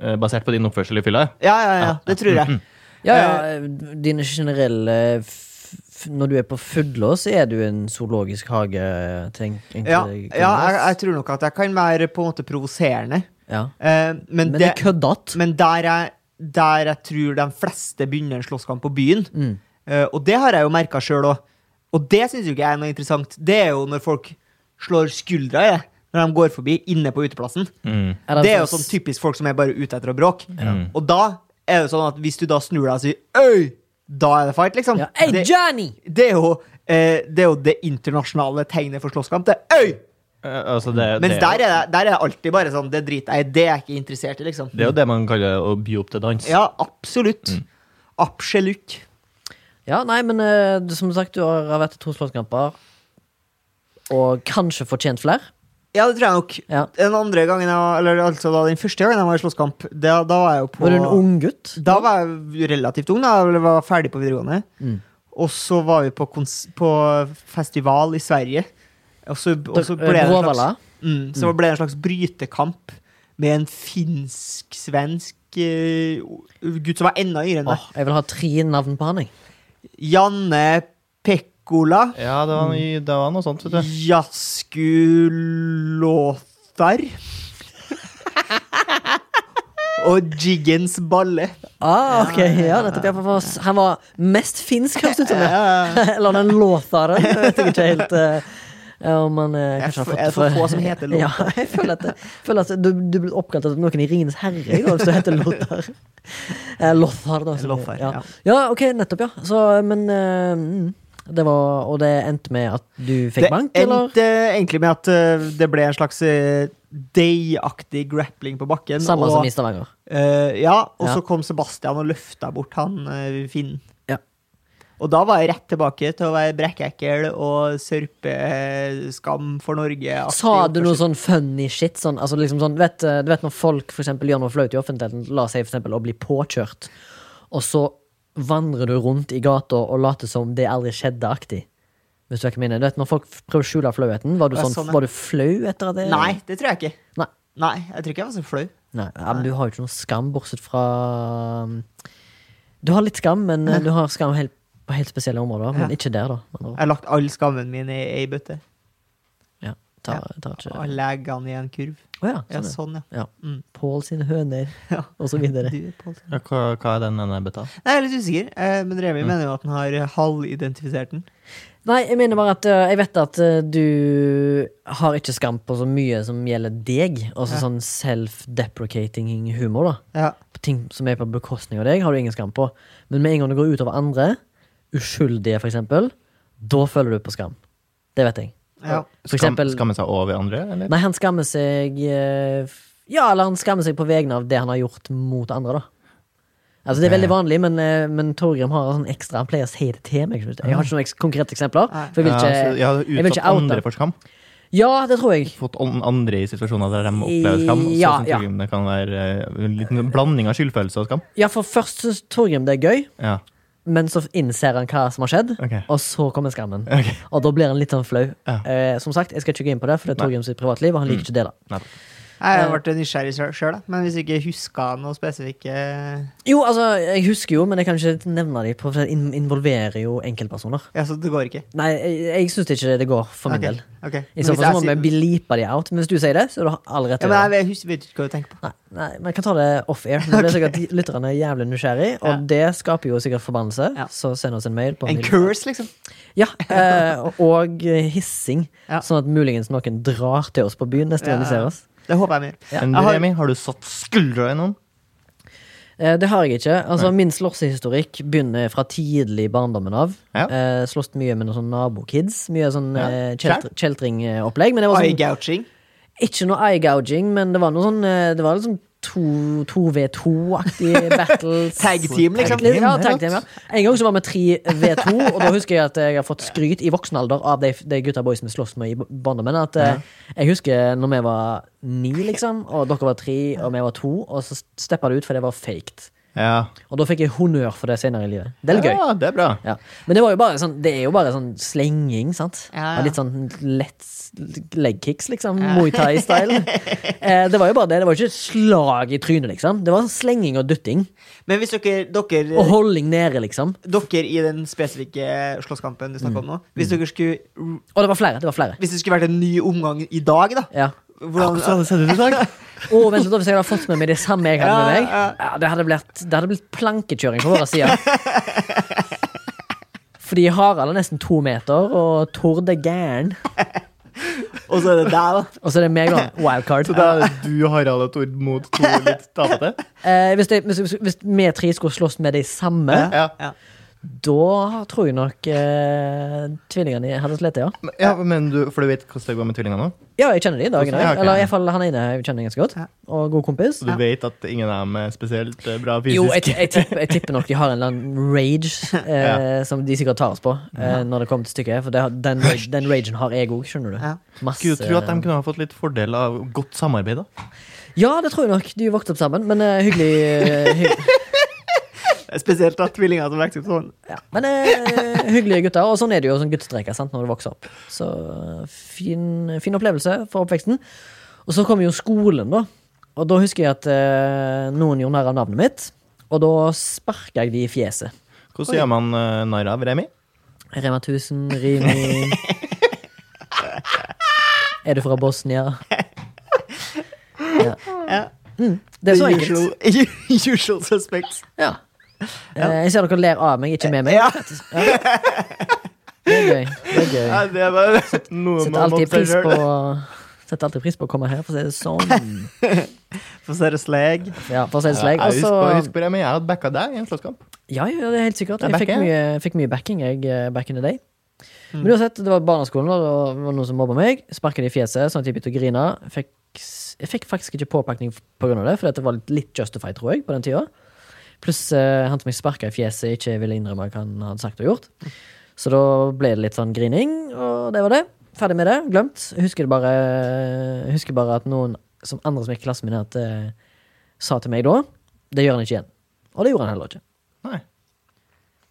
eh, basert på din oppførsel i fylla.
Ja, ja, ja, det tror jeg.
Ja, ja, eh, dine generelle f f når du er på fulle, så er du en zoologisk hage, tenk. tenk-
Ja,
tenk-
ja jeg, jeg tror nok at jeg kan være på en måte provoserende.
ja.
Eh, men,
Men det
det,
er køddete.
men der, jeg, der jeg tror de fleste begynner en slåsskamp på byen,
Mm.
eh, og det har jeg jo merka sjøl òg, og det syns jo ikke jeg er noe interessant, det er jo når folk slår skuldra i det når de går forbi inne på uteplassen.
Mm.
Er det
Det er jo
sånn-
sånn typisk folk som er bare ute etter å bråke.
Mm.
Og da er det sånn at hvis du da snur deg og sier Øy! Da er det fight, liksom.
ja. Hey,
det,
Johnny!
det, er jo, eh, det er jo det internasjonale tegnet for slåsskamp. Det er øy!
Eh, altså det,
Mens
det,
der er, det, der er det alltid bare sånn Det driter jeg i, det er jeg ikke interessert i, liksom.
det Mm. er jo det man kaller å by opp til dans.
Ja, absolutt. Absolutt.
Ja, nei, men eh, som sagt, du har har vært i to slåsskamper. Og kanskje fortjent flere.
Ja, det tror jeg nok.
Ja.
Den andre gangen jeg var, eller altså da den første gangen jeg var i slåsskamp, da, da var jeg jo på
Var du en ung gutt?
Da var jeg relativt ung, da. Jeg var ferdig på videregående.
Mm.
Og så var vi på, kons på festival i Sverige. Og så, og så
eh,
ble det en slags,
Bråvalla?
mm, så ble det en slags brytekamp med en finsk-svensk eh, gutt som var enda yngre enn meg.
Åh, jeg vil ha tre navn på han, jeg.
Janne Pekkola.
Ja, det var, ny- det var noe sånt, vet du.
Jaskulåtar. Og Jiggens balle.
Ah, ok, ja, nettopp. Ja, for- for- Han var mest finsk, høres det ut som. ja.
Jeg,
Eller han er en låtare. Jeg vet ikke helt eh, om han eh,
Jeg
kanskje har
f-
fått
er det for få som heter låtar?
Ja, jeg føler at, det- føler at du, du blir oppkalt etter noen i Ringenes herre i dag, hvis du heter Lothar. Eh, Lothar, da. som-
Lothar, ja.
ja. ja, ok, nettopp, ja. Så, men eh, mm, det var, Og det endte med at du fikk
det
bank, eller?
endte egentlig med at eh, det ble en slags eh, day-aktig grappling på bakken.
Samme
og,
som i Stavanger.
eh, ja, og
Ja.
så kom Sebastian og løfta bort han eh, Finn.
Ja.
Og da var jeg rett tilbake til å være brekkekkel og sørpe eh, skam for Norge.
Sa du noe sånn funny shit? Sånn, altså liksom sånn, vet, eh, du vet når folk for eksempel, gjør noe flaut i offentligheten, la seg for eksempel å bli påkjørt, og så vandrer du rundt i gata og later som det aldri skjedde-aktig. Hvis du ikke mener. Du vet, når folk prøver å skjule flauheten, var du,
Ja,
sånn,
sånn, ja.
var du flau etter at det
Nei, det tror jeg ikke.
Eh, Nei.
Nei, jeg tror ikke jeg var så flau.
Nei, ja, men du har jo ikke noe skam, bortsett fra um, Du har litt skam, men eh, du har skam helt, på helt spesielle områder, men
Ja.
ikke der, da. med andre ord.
Jeg har lagt all skammen min i ei bøtte.
Ja, tar, tar ikke
Og leggene i en kurv.
Å ja,
Ja,
sånn, ja.
sånn, ja.
ja.
Mm.
Pål sine høner,
Ja.
og så videre.
Du, Paul.
Ja, hva, hva er den ene bøtta?
Nei, jeg er litt usikker, eh, men Remi
Mm.
mener jo at han har eh, halvidentifisert den.
Nei, jeg mener bare at øh, jeg vet at øh, du har ikke skam på så mye som gjelder deg. Altså
Ja.
sånn self-deprecating humor, da.
Ja.
På ting som er på bekostning av deg, har du ingen skam på. Men med en gang det går utover andre, uskyldige for eksempel, da føler du på skam. Det vet jeg.
Ja.
For
Skam,
eksempel
Skamme seg over andre, eller?
Nei, han skammer seg øh, f- Ja, eller han skammer seg på vegne av det han har gjort mot andre, da. Altså, det er veldig vanlig, men, øh, men Torgrim har sånn ekstra Han pleier å si det til meg. skjønner du. Jeg har ikke noen eks konkrete eksempler.
Nei.
For jeg vil
Ja, så
ikke
jeg hadde
jeg vil
utsatt
ikke oute.
andre for skam.
Ja, det tror jeg.
Fått an- andre i situasjoner der de opplever skam.
Ja,
så
ja.
ja. Det kan være eh, en liten blanding av skyldfølelse og skam.
Ja, for først syns Torgrim det er gøy,
Ja,
men så innser han hva som har skjedd.
ok.
Og så kommer skammen.
Ok.
Og da blir han litt sånn flau.
Ja.
Eh, som sagt, Jeg skal ikke gå inn på det, for det er
Nei.
Torgrim sitt privatliv, og han
Mm.
liker ikke det. da
Jeg
Eh.
har vært nysgjerrig sjøl, men hvis jeg ikke huska noe eh, spesifikke
Jo, altså, jeg husker jo, men jeg kan ikke nevne dem, for det in- involverer jo enkeltpersoner.
Ja, så det går ikke?
Nei, jeg, jeg syns ikke det, det går, for min
Ok,
del.
ok.
I
Men
så
hvis
fall så må
jeg
vi
sier-
bleepe de out, men hvis du sier det, så er du all rett
ja,
til å
men
gjøre det.
jeg vet- hus- vet ikke hva du tenker på.
Nei, nei, men jeg kan ta det off-air. Nå blir sikkert lytterne jævlig nysgjerrig, og
Ja.
det skaper jo sikkert forbannelse.
Ja.
Så send oss en mail på
En curse, liksom.
Ja, eh, og hissing.
Ja.
Sånn at muligens noen drar til oss på byen neste gang de
Ja.
ser oss.
Det håper jeg mer.
Men
Jeg har-
Remi, har du satt skuldra i noen?
Eh, det har jeg ikke. Altså, min slåssehistorikk begynner fra tidlig i barndommen av.
Ja.
Eh, Slåss mye med noen sånne nabokids. Mye sånn
Ja.
eh, kjelt, kjeltringopplegg. Men det var
Eye
sånn,
gouging.
ikke noe eye gouging, men det var noe sånn eh, Det var liksom to- 2v2-aktige battles.
Tag team, liksom.
Tag team, ja, tag team, ja. En gang så var vi tre V2, og da husker jeg at jeg har fått skryt i voksen alder av de, de gutta boys vi slåss med i barndommen. At eh, jeg husker når vi var ni, liksom, og dere var tre, og vi var to, og så steppa det ut, for det var faked.
Ja.
Og da fikk jeg honnør for det senere i livet. Det er litt gøy.
Ja, det er bra.
Ja. Men det, var jo bare sånn, det er jo bare sånn slenging, sant?
Ja, ja.
Og litt sånn lett legkicks, liksom. Muay Thai-style. eh, det var jo bare det. Det var jo ikke slag i trynet, liksom. Det var sånn slenging og dytting.
Men hvis dere, dere
Og holding nede, liksom.
dere i den spesifikke slåsskampen du snakker om
Mm.
nå Hvis dere skulle
Og det var flere. det var flere
Hvis det skulle vært en ny omgang i dag, da
Ja.
hvordan,
Å, vent litt, da, hvis jeg hadde fått med meg det samme jeg hadde med meg, ja, det, hadde blitt, det hadde blitt plankekjøring på våre sider. Fordi Harald er nesten to meter, og Tord er gæren.
Og så er det deg, da.
Og så er det meg, da. Wildcard.
Så da er det du, Harald og Tord mot to litt tapete?
Eh, hvis, det, hvis, hvis, hvis vi tre skulle slåss med de samme,
Ja.
Ja.
Da tror jeg nok eh, tvillingene hadde slitt, ja.
Men- Ja, men du, For du vet hvordan det går med tvillingene nå?
Ja, jeg kjenner de dagen.
Ja,
Ja,
ok.
Eller iallfall han ene jeg kjenner ganske godt.
Ja.
Og god kompis.
Så du vet at ingen av dem er spesielt eh, bra fysisk?
Jo, jeg, jeg, tipper, jeg tipper nok de har en eller annen rage eh, som de sikkert tar oss på eh, når det kommer til stykket. For det, har- den, rage- den ragen har jeg òg, skjønner du.
Ja.
Masse-
Skulle jo tro at de kunne ha fått litt fordel av godt samarbeid, da.
Ja, det tror jeg nok. De vokste opp sammen, men eh, hyggelig. eh, Hy
Spesielt at tvillinger som vokser opp sånn.
ja. Men eh, hyggelige gutter. Og sånn er det jo sånn guttestreker sant, når du vokser opp. Så eh, fin, fin opplevelse for oppveksten. Og så kommer jo skolen, da. Og da husker jeg at eh, noen gjorde narr av navnet mitt. Og da sparka jeg de i fjeset.
Hvordan gjør man uh, narr av Remi?
Rema 1000, Rimi Er du fra Bosnia? Ja. Mm,
Ja.
Det er så
The
enkelt.
Usual, usual suspects.
Ja. Eh, Jeg ser dere ler av meg, ikke med meg.
Ja.
Ja. Det er gøy. Det er gøy.
Ja, det var noe
Setter
man må
alltid pris
selv.
på Setter alltid pris på å komme her, for å si det sånn.
For så er det slag. altså-
Ja, for å si det slik.
Ja, jeg
Og
husker, jeg
så
husker det, men jeg hadde backa deg i en slåsskamp.
Ja, ja, det er helt sikkert.
Det er
Jeg fikk
backing, Mm.
mye, fikk mye backing jeg, eh, back in the day. Men uansett, det var barneskolen, og det var noen som mobba meg. Sparka det i fjeset, sånn at jeg begynte å grine. Fikk, s- jeg fikk faktisk ikke påpakning på grunn av det, for dette var litt, litt justified, tror jeg, på den tida. Pluss eh, han som jeg sparka i fjeset, ikke ville innrømme hva han hadde sagt og gjort.
Mm.
Så da ble det litt sånn grining, og det var det. Ferdig med det. Glemt. Jeg Husker det bare, jeg husker bare at noen som andre som gikk i klassen min, at, eh, sa til meg da Det gjør han ikke igjen. Og det gjorde han heller ikke.
Nei.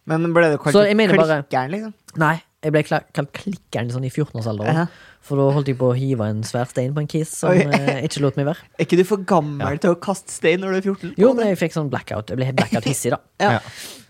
Men ble du kalt
Så jeg mener bare-
klikkeren, liksom?
Nei, jeg ble kla- kalt klikkeren sånn i 14-årsalderen.
Ja.
For da holdt jeg på å hive en svær stein på en kis som
Oi.
eh, ikke lot meg være.
Er ikke du for gammel til å kaste stein når du er 14? på
Jo,
en
men
måte?
jeg fikk sånn blackout. Jeg ble helt blackout hissig, da.
ja.
Ja.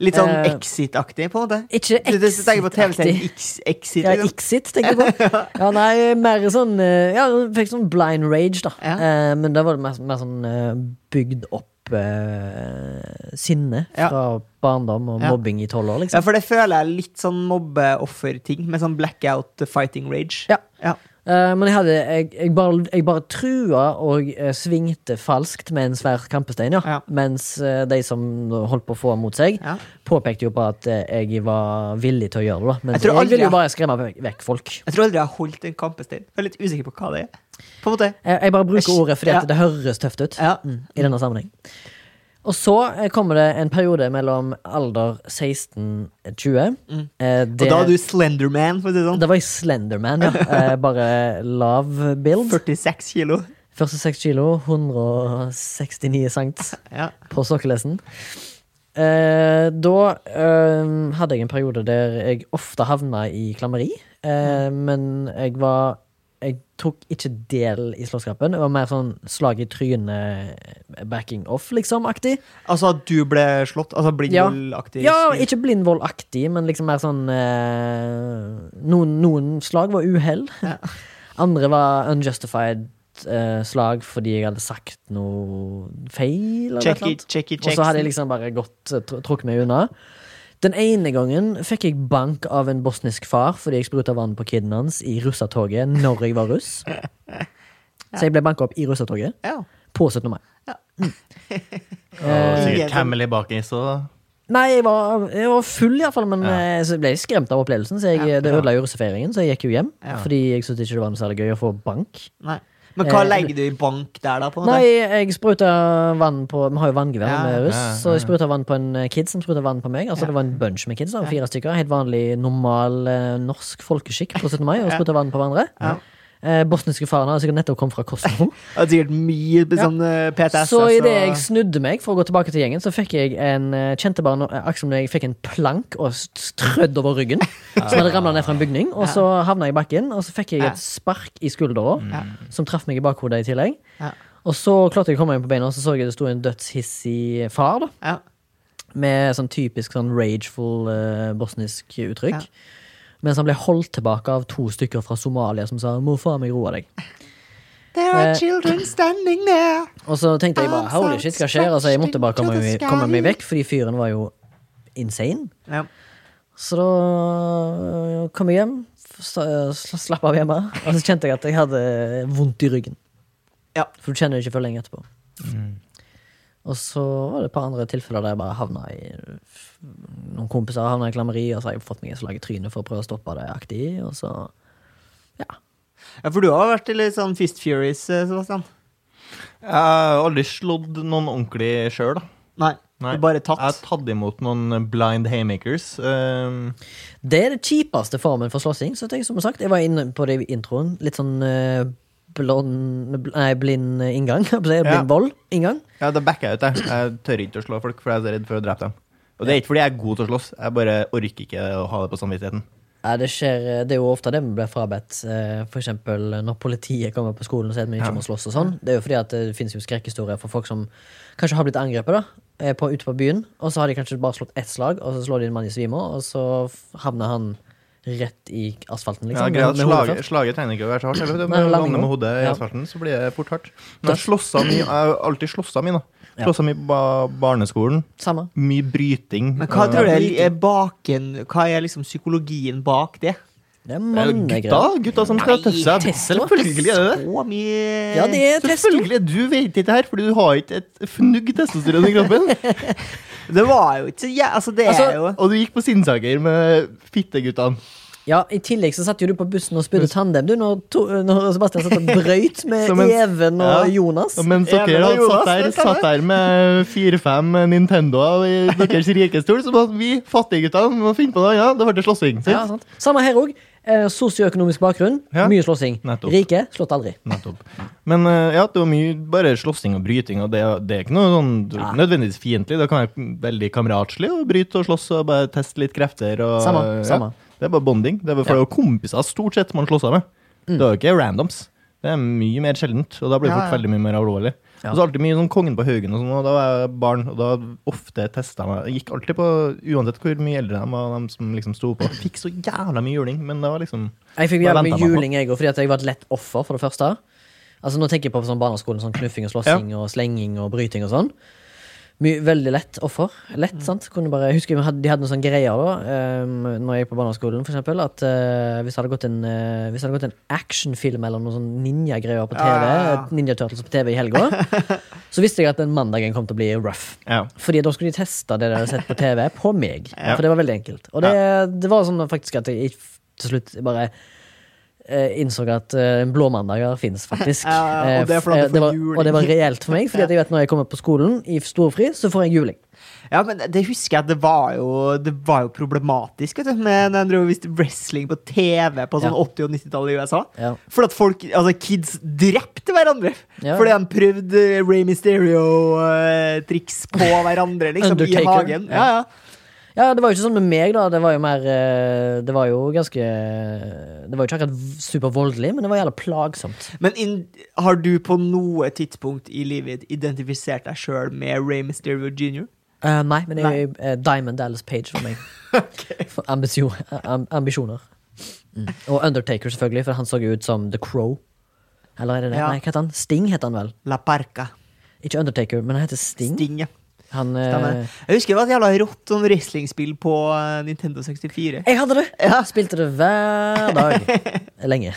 Litt sånn
Eh,
Exit-aktig, på en måte?
Ikke
Du, du tenker på TV-serien
Exit-aktig.
X- Exit?
Ja,
Liksom.
Exit, tenker jeg på. Ja, nei, mer sånn eh, Ja, jeg fikk sånn blind rage, da.
Ja.
Eh, Men da var det mer, mer sånn eh, bygd opp eh, sinne
Ja.
fra barndom og
Ja.
mobbing i tolv år,
Ja,
liksom.
for det føler jeg er litt sånn mobbeoffer-ting, med sånn blackout eh, fighting rage.
Ja.
ja.
Eh, men jeg hadde jeg, jeg, bare, jeg bare trua og eh, svingte falskt med en svær kampestein, ja.
Ja.
Mens eh, de som holdt på å få den mot seg,
Ja.
påpekte jo på at eh, jeg var villig til å gjøre det. da Men
Jeg
jeg,
tror aldri
ville jo
jeg-
bare skremme vekk, vekk folk.
Jeg tror aldri jeg har holdt en kampestein. Jeg er litt usikker på hva det er. På en måte.
Jeg, jeg bare bruker
Jeg-
ordet fordi
ja.
at det høres tøft ut
Ja.
mm, i denne sammenheng. Og så eh, kommer det en periode mellom alder 16-20.
Mm.
Eh,
Og
det-
da er du Slenderman, for å si det sånn.
da var jeg Slenderman, ja. Eh, bare lav build.
46 kilo.
Første seks kilo, 169 sankt.
Ja.
på sokkelesten. Eh, da eh, hadde jeg en periode der jeg ofte havna i klammeri. Eh, Men jeg var Jeg tok ikke del i slåsskampen. Det var mer sånn slag i trynet, backing off, liksom, liksom-aktig.
Altså at du ble slått? Altså
Ja.
blindvollaktig?
Ja, ikke blindvoldaktig, men liksom mer sånn eh, noen, noen slag var uhell. Andre var unjustified eh, slag fordi jeg hadde sagt noe feil. Eller et eller
Checky,
annet.
checky,
Og så hadde jeg liksom bare gått, eh, tr- trukket meg unna. Den ene gangen fikk jeg bank av en bosnisk far fordi jeg spruta vann på kiden hans i russatoget når jeg var russ. Så jeg ble banka opp i russatoget
Ja.
på 17. mai. Eh,
Og
Ingen
sikkert
som-
Camel i baki, så
Nei, jeg var, jeg var full iallfall, men
Ja.
eh, så ble jeg skremt av opplevelsen. Så jeg,
Ja.
Det ødela jo russefeiringen, så jeg gikk jo hjem.
Ja.
Fordi jeg syntes ikke det var noe særlig gøy å få bank.
Nei. Men hva
Eh,
legger du i bank der, da? på en måte?
Nei, jeg spruta vann på Vi har jo vanngevær
Ja.
med russ,
Ja, ja,
så jeg
ja.
spruta vann på en eh, kid som spruta vann på meg. Altså
Ja.
Det var en bunch med kids, da, fire stykker. Helt vanlig, normal eh, norsk folkeskikk på 17. mai, og spruta vann på hverandre.
Ja.
Eh, bosniske faren har sikkert nettopp kommet fra Kosovo.
Det er sikkert mye på
Ja.
sånn eh, PTSS.
Så
og-
idet jeg snudde meg for å gå tilbake til gjengen, så fikk jeg en eh, kjente bare no- akkurat som jeg fikk en plank og strødd over ryggen. Som hadde ramla ned fra en bygning. Og så havna jeg i bakken, og så fikk jeg
Ja.
et spark i skuldra
Ja.
som traff meg i bakhodet i tillegg.
Ja.
Og så klarte jeg å komme meg på beina, og så så jeg det sto en dødshissig far. da
Ja.
Med sånn typisk sånn rageful eh, bosnisk uttrykk.
Ja.
Mens han ble holdt tilbake av to stykker fra Somalia som sa 'må faen meg roe deg'.
There
Eh.
are children standing there.
Og så tenkte jeg bare
Ah,
holy
sant.
shit, hva skjer? Altså, jeg måtte bare komme,
Stretch to the
komme meg
sky.
vekk, fordi fyren var jo insane.
Ja.
Så da øh, kom jeg hjem, sla- sla- slapp av hjemme, og så kjente jeg at jeg hadde vondt i ryggen.
Ja.
For du kjenner det ikke før lenge etterpå. Og så var det et par andre tilfeller der jeg bare havna i Noen kompiser havna i klammeri, og så har jeg fått meg en slag i trynet for å prøve å stoppe det aktig, og så Ja.
Ja, for du har vært i litt sånn Fist Furies, eh, Sebastian.
Jeg har aldri slått noen ordentlig sjøl, da.
Nei.
Nei.
Du bare
Jeg har
tatt.
tatt imot noen blind haymakers. eh,
Det er det kjipeste formen for slåssing. Så jeg, som sagt, jeg var inne på det i introen. Litt sånn eh, blond bl- Nei, blind eh, inngang. Jeg holdt på å si,
Ja.
Blind vold-inngang.
ja, da backer jeg ut, jeg. Jeg tør ikke å slå folk, for jeg er så redd for å drepe dem. Og det er ikke fordi jeg er god til å slåss, jeg bare orker ikke å ha det på samvittigheten.
Ja, det, skjer, eh, det er jo ofte det vi blir frabedt. eh, For eksempel når politiet kommer på skolen og sier at vi ikke
Ja.
må slåss og sånn. Det er jo fordi at det finnes jo skrekkhistorier for folk som kanskje har blitt angrepet da, eh, på, ute på byen. Og så har de kanskje bare slått ett slag, og så slår de en mann i svime, og så f- havner han rett i asfalten,
Ja,
liksom.
greia er at
med- med hodet
slaget,
først.
slaget tegner ikke å være så hardt. Eller,
Nei,
når du
landing
lander med
nå.
hodet i
Ja.
asfalten, så blir det fort hardt.
Da-
Men jeg slåssa mi, jeg har alltid slåssa mi, da.
Ja.
Slåssa mi på ba- barneskolen.
Samme.
Mye bryting.
Men hva
Eh,
tror du er, er baken Hva er liksom psykologien bak det?
Det er
det er jo Gutta,
mannegreier.
gutta som skal tøffe seg.
Tesla.
Selvfølgelig er det det.
Så mye
Ja, det er testo.
Selvfølgelig, Du vet ikke det her, fordi du har ikke et fnugg testosteron i kroppen.
Det var jo ikke så jæ- Altså, det
Altså-
er jo
Og du gikk på Sinnsaker med fitteguttene.
Ja, I tillegg så satt jo du på bussen og spydde tandem, du, når, to, når Sebastian satt og brøyt med
Som en-
Even og
Ja.
Jonas.
Og Mens
Even
dere
og
hadde
Jonas,
satt der,
det stemmer.
satt der med fire-fem Nintendoer i deres rikestol, så måtte vi fattigguttene må finne på noe annet. Da ble det slåssing. sant?
Ja, sant. Samme her òg. Eh, Sosioøkonomisk bakgrunn,
Ja.
mye slåssing.
Nettopp.
Rike, slått aldri.
Nettopp. Men eh, ja, det var mye bare slåssing og bryting, og det, det er ikke noe sånn
Ja.
nødvendigvis fiendtlig. Det kan være veldig kameratslig å bryte og slåss og bare teste litt krefter. Og,
Samme, samme.
Ja, det er bare bonding. Det er bare for det er jo kompiser stort sett man slåss med.
Mm.
Det er jo ikke randoms. Det er mye mer sjeldent, og da blir det
Ja,
fort
ja.
veldig mye mer alvorlig.
Ja.
Og så alltid mye sånn Kongen på Haugen og sånn, og da var jeg barn, og da ofte testa jeg meg. Jeg Gikk alltid på, uansett hvor mye eldre de var, de som liksom sto på. Fikk så jævla mye juling, men det var liksom
Jeg fikk jævlig
Bare
mye
ventet meg på.
juling, jeg òg, fordi at jeg var et lett offer, for det første. Altså Nå tenker jeg på sånn barneskolen, sånn knuffing og slåssing og slenging og bryting og sånn. Mye, veldig lett offer. Lett, sant? Kunne bare, jeg husker vi hadde, De hadde noen sånne greier da um, Når jeg gikk på barneskolen, for eksempel. At eh, hvis det hadde gått en eh, Hvis det hadde gått en actionfilm eller noen sånne ninjagreier på TV,
Ja, ja, ja.
Ninja Turtles på TV i helga, så visste jeg at den mandagen kom til å bli rough.
Ja.
Fordi da skulle de teste det de hadde sett på TV, på meg.
Ja.
For det var veldig enkelt. Og det, det var sånn faktisk at jeg f- til slutt bare eh, innså at eh, en blåmandager fins, faktisk.
Ja, ja, og
Eh,
det er fordi
eh,
du
det
får
var,
juling.
og det var reelt for meg, Fordi at jeg vet når jeg kommer på skolen i storfri, så får jeg juling.
Ja, men det husker jeg at det var jo, det var jo problematisk vet du, med når de drev og viste wrestling på TV på sånn
Ja.
80- og 90-tallet i USA.
Ja.
For at folk, altså kids drepte hverandre
Ja.
fordi de prøvde Ray Mysterio-triks på hverandre liksom, i
Undertaker.
hagen. Ja, ja.
ja, det var jo ikke sånn med meg, da. Det var jo mer eh, Det var jo ganske Det var jo ikke akkurat v- supervoldelig, men det var jævla plagsomt.
Men in, har du på noe tidspunkt i livet ditt identifisert deg sjøl med Ray Mysterio jr.?
Eh, nei, men jeg,
Nei.
eh, Diamond Dallas Page for meg. for ambisjon, eh, am, ambisjoner. Mm. Og Undertaker, selvfølgelig, for han så jo ut som The Crow. Eller er det det?
Ja.
Nei, hva heter han? Sting heter han vel.
La Parca.
Ikke Undertaker, men han heter Sting.
Sting, ja.
Han, eh,
Stemmer. Jeg husker det var et jævla rått sånn wrestlingspill på eh, Nintendo 64.
jeg hadde det! Spilte det hver dag. Lenge.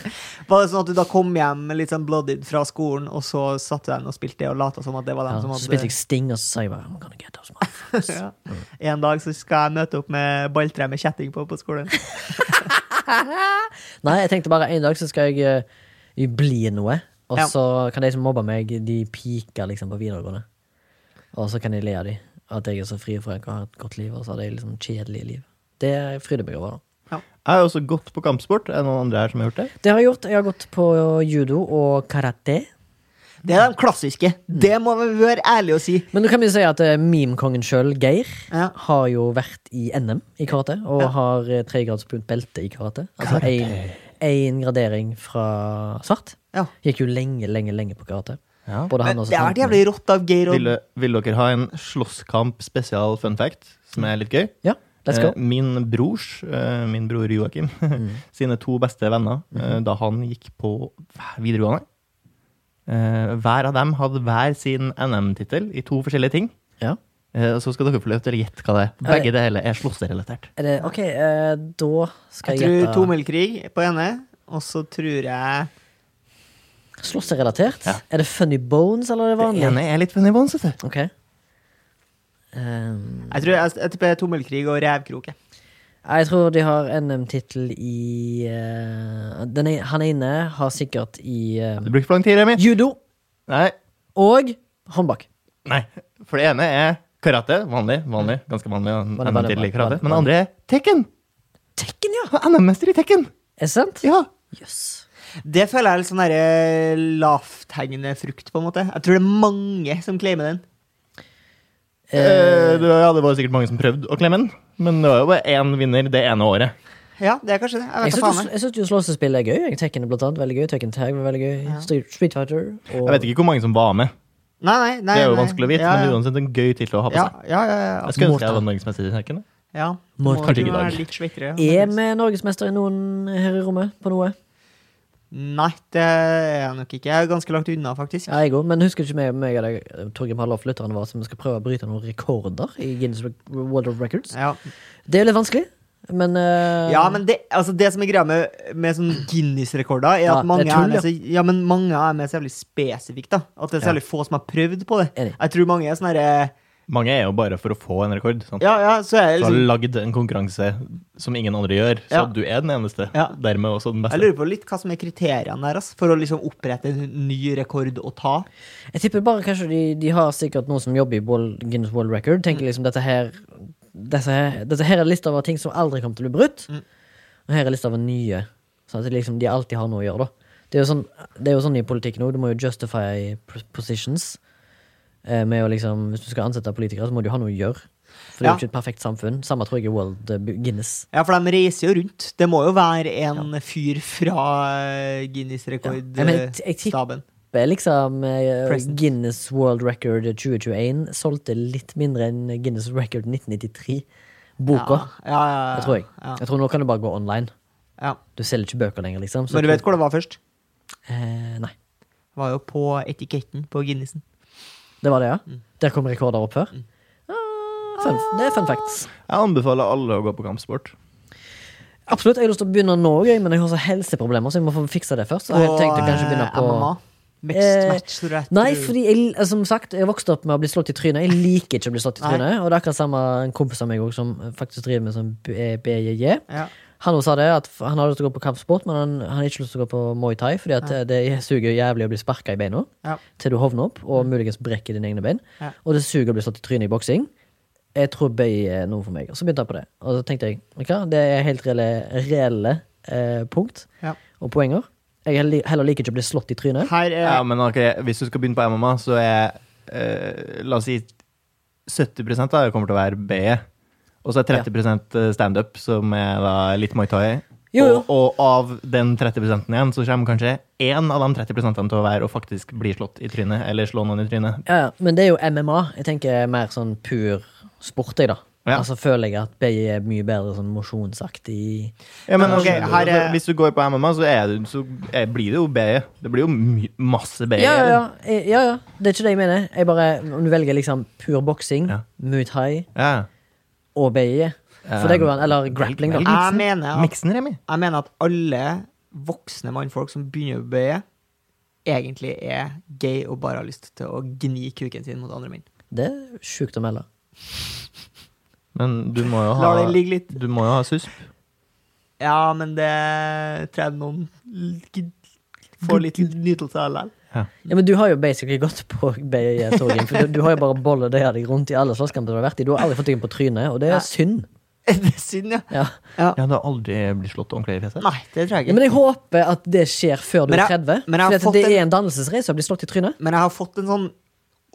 Var det sånn at du da kom hjem litt sånn bloodied fra skolen, og så satte deg ned og spilte det og lata som at det var
Ja,
dem som
så
hadde
spilte jeg Sting, og så sa jeg bare I'm gonna get those motherfuckers.
ja. En dag så skal jeg møte opp med balltre med kjetting på på skolen.
Nei, jeg tenkte bare en dag så skal jeg eh, bli noe. Og
Ja.
så kan de som mobber meg, de piker liksom på videregående. Og så kan de le av de. At jeg er så fri for at jeg har et godt liv, og så har de liksom kjedelige liv. Det fryder meg over. da.
Jeg har også gått på kampsport. Er det noen andre her som har gjort det?
Det har jeg gjort. Jeg har gått på judo og karate.
Det er de klassiske.
Mm.
Det må vi være ærlige og si.
Men nå kan vi si at eh, meme-kongen sjøl, Geir,
Ja.
har jo vært i NM i karate. Og
Ja.
har eh, tregradspunkt belte i karate. Altså én gradering fra svart.
Ja.
Gikk jo lenge, lenge, lenge på karate.
Ja.
Både han liksom og
Men det har vært
tantene.
jævlig rått av Geir og
Vil, vil dere ha en slåsskamp spesial fun fact, som er litt gøy?
Ja, let's go. Mm.
Eh, Min brors, eh, min bror Joakim, sine to beste venner,
Mm-hmm.
eh, da han gikk på videregående eh, Hver av dem hadde hver sin NM-tittel i to forskjellige ting.
Ja.
Eh, og Så skal dere få lov til å gjette hva det er.
Er det-
Begge deler er slåssrelatert.
Er det, ok, eh, da skal
Jeg
jeg
tror
gjette
tommelkrig på ene, og så tror jeg
Slåssrelatert?
Ja.
Er det Funny Bones eller er det
Det
vanlig?
ene er litt funny bones, vet du.
Ok. Ehm,
Jeg tror jeg, jeg tipper tommelkrig og revkrok. jeg.
jeg tror de har NM-tittel i eh, den er, Han ene har sikkert i eh,
Du bruker for lang tid, Remi.
judo
Nei.
og håndbak.
Nei. For det ene er karate. Vanlig. vanlig,
Mm.
Ganske vanlig.
Vanlig,
NM
vanlig,
-tittel i
vanlig,
karate. Men det
vanlig.
andre er Tekken.
Tekken, ja!
Han er NM-mester i Tekken.
Er det sant?
Ja.
Jøss.
Det føler jeg er litt sånn derre lavthengende frukt, på en måte. Jeg tror det er mange som claimer den.
Eh,
Eh, det- ja, det var sikkert mange som prøvde å klemme den, men det var jo bare én vinner det ene året.
Ja, det er kanskje det. Jeg
jeg
vet da faen. jeg.
syns jo slåssespill er gøy. Jeg- Tekken er blant annet veldig gøy. Tekken Tag var veldig gøy.
Ja.
Street Street Fighter og
Jeg vet ikke hvor mange som var med.
Nei, nei, nei,
Det er jo
nei.
vanskelig å vite,
ja,
men uansett en gøy tittel å ha på
ja,
seg. Altså,
ja, ja, ja,
Jeg
ja.
skulle ønske jeg
Mortal.
var norgesmester i Tekken. da.
ja.
Må-
må
kanskje ikke i
kunne være
dag.
Litt svektere,
Er
faktisk.
vi norgesmester i noen her i rommet? På noe?
Nei, det er jeg nok ikke. Jeg er ganske langt unna, faktisk.
Ja, jeg òg, men husker du ikke meg, meg og deg, Torgrim Hallof, lytterne våre, som skal prøve å bryte noen rekorder i Guinness Re- World of Records?
Ja,
Det er jo litt vanskelig, men eh,
ja men det, altså det som er greia med, med sånn Guinness-rekorder, er
Ja,
at mange,
det er tull,
er med så, ja, men mange er med så jævlig spesifikt. da At det er så jævlig få som har prøvd på det.
Enig.
Jeg tror mange er sånn herre
Mange er jo bare for å få en rekord. Sant?
Ja, ja, så er det
Du har
liksom
lagd en konkurranse som ingen andre gjør, så
Ja.
du er den eneste.
Ja.
Dermed også den
Jeg
beste.
lurer på litt hva som er kriteriene der ass, for å liksom opprette en ny rekord å ta.
jeg tipper bare kanskje de, de har sikkert noen som jobber i World, Guinness World Record, tenker
Mm.
liksom dette her dette her, dette her er lista over ting som aldri kommer til å bli brutt,
Mm.
og her er lista over nye. Sånn at det liksom, de alltid har noe å gjøre, da. Det er jo sånn, det er jo sånn i politikken òg, du må jo justify pos- positions. eh, Med å liksom, hvis du skal ansette politikere, så må du ha noe å gjøre. For det er
Ja.
jo ikke et perfekt samfunn. Samme tror jeg i World eh, Guinness.
Ja, for de reiser jo rundt. Det må jo være en fyr fra eh, Guinness
Ja, men jeg- jeg tipper-
rekordstaben.
Det er liksom eh,
Present.
Guinness World Record 2021 solgte litt mindre enn Guinness Record 1993. Boka.
Ja, ja, ja, ja.
Det tror jeg.
Ja,
Jeg tror nå kan du bare gå online.
ja.
Du selger ikke bøker lenger, liksom. så
Men du
jeg
vet hvor det var først?
tror- eh, Nei.
Det var jo på etiketten på Guinnessen.
Det var det, ja?
Mm.
Der kom rekorder opp før? Ah, Fun, det er fun facts.
Jeg anbefaler alle å gå på kampsport.
Absolutt. Jeg har lyst til å begynne nå, jeg, men jeg har så helseproblemer, så jeg må få fiksa det først. Så jeg
På,
tenkte kanskje begynne
eh,
på
MMA. Mixed
Eh,
match, tror jeg.
Nei, fordi jeg, eh, som sagt, jeg vokste opp med å bli slått i trynet. Jeg liker ikke å bli slått i
Nei.
trynet. Og det er akkurat samme en kompis av meg også, som eh, faktisk driver med sånn B- eh, BJJ.
ja.
Han også sa det, at f- han har lyst til å gå på kampsport, men han, han har ikke lyst til å gå på Muay Thai, fordi at eh, det suger jævlig å bli sparka i beina
Ja. Mm.
til du hovner opp, og muligens brekker dine egne bein.
Ja.
Og det suger å bli slått i trynet i boksing. Jeg tror bøy er noe for meg. Og så begynte jeg på det. Og så tenkte jeg vet du hva, det er helt reelle, reelle eh, punkt
Ja.
og poenger. Jeg heller- heller liker ikke å bli slått i trynet.
Her er
Ja, men ok, Hvis du skal begynne på MMA, så er eh, la oss si 70 da, kommer til å være BE. Og så er 30 standup, som er da litt Muay Thai.
Jo, jo.
Og, og av den 30 igjen, så kommer kanskje én av de 30 til å være å faktisk bli slått i trynet, eller slå noen i trynet.
Ja, ja, men det er jo MMA. Jeg tenker mer sånn pur sport, jeg, da.
Ja.
Altså føler jeg at BI er mye bedre sånn mosjonsaktig.
Ja, men
Men, ok,
altså,
her er-
Hvis du går på MMA, så, er du, så er, blir det jo BE. Det blir jo my masse E. BE.
Ja, ja, ja, ja, ja. Det er ikke det jeg mener. Jeg bare, om du velger liksom pur boksing,
Ja.
Muay Thai
ja.
og BI, for
Um,
det går an. Eller grappling, da.
velg
jeg,
miksen.
mener at,
Miksen, Remi.
jeg mener at alle voksne mannfolk som begynner å bøye, egentlig er gay og bare har lyst til å gni kuken sin mot andre menn.
Det er sjukt å melde.
Men du må jo ha,
La det ligge litt.
du må jo ha susp.
Ja, men det tror jeg noen l- får litt nytelse av likevel.
Ja, men du har jo basically gått på BI, Torgrim. For du, du har jo bare bolla det av deg rundt i alle slåsskamper du har vært i. Du har aldri fått deg på trynet, og det
Nei.
er synd.
Det er synd, ja.
Ja.
Ja, du har aldri blitt slått ordentlig i fjeset?
Nei, det tror jeg
Ja,
ikke.
men jeg håper at det skjer før du
Men
er
jeg-
30.
men jeg har
For
fått
det
en-
er en dannelsesreise å bli slått i trynet.
Men jeg har fått en sånn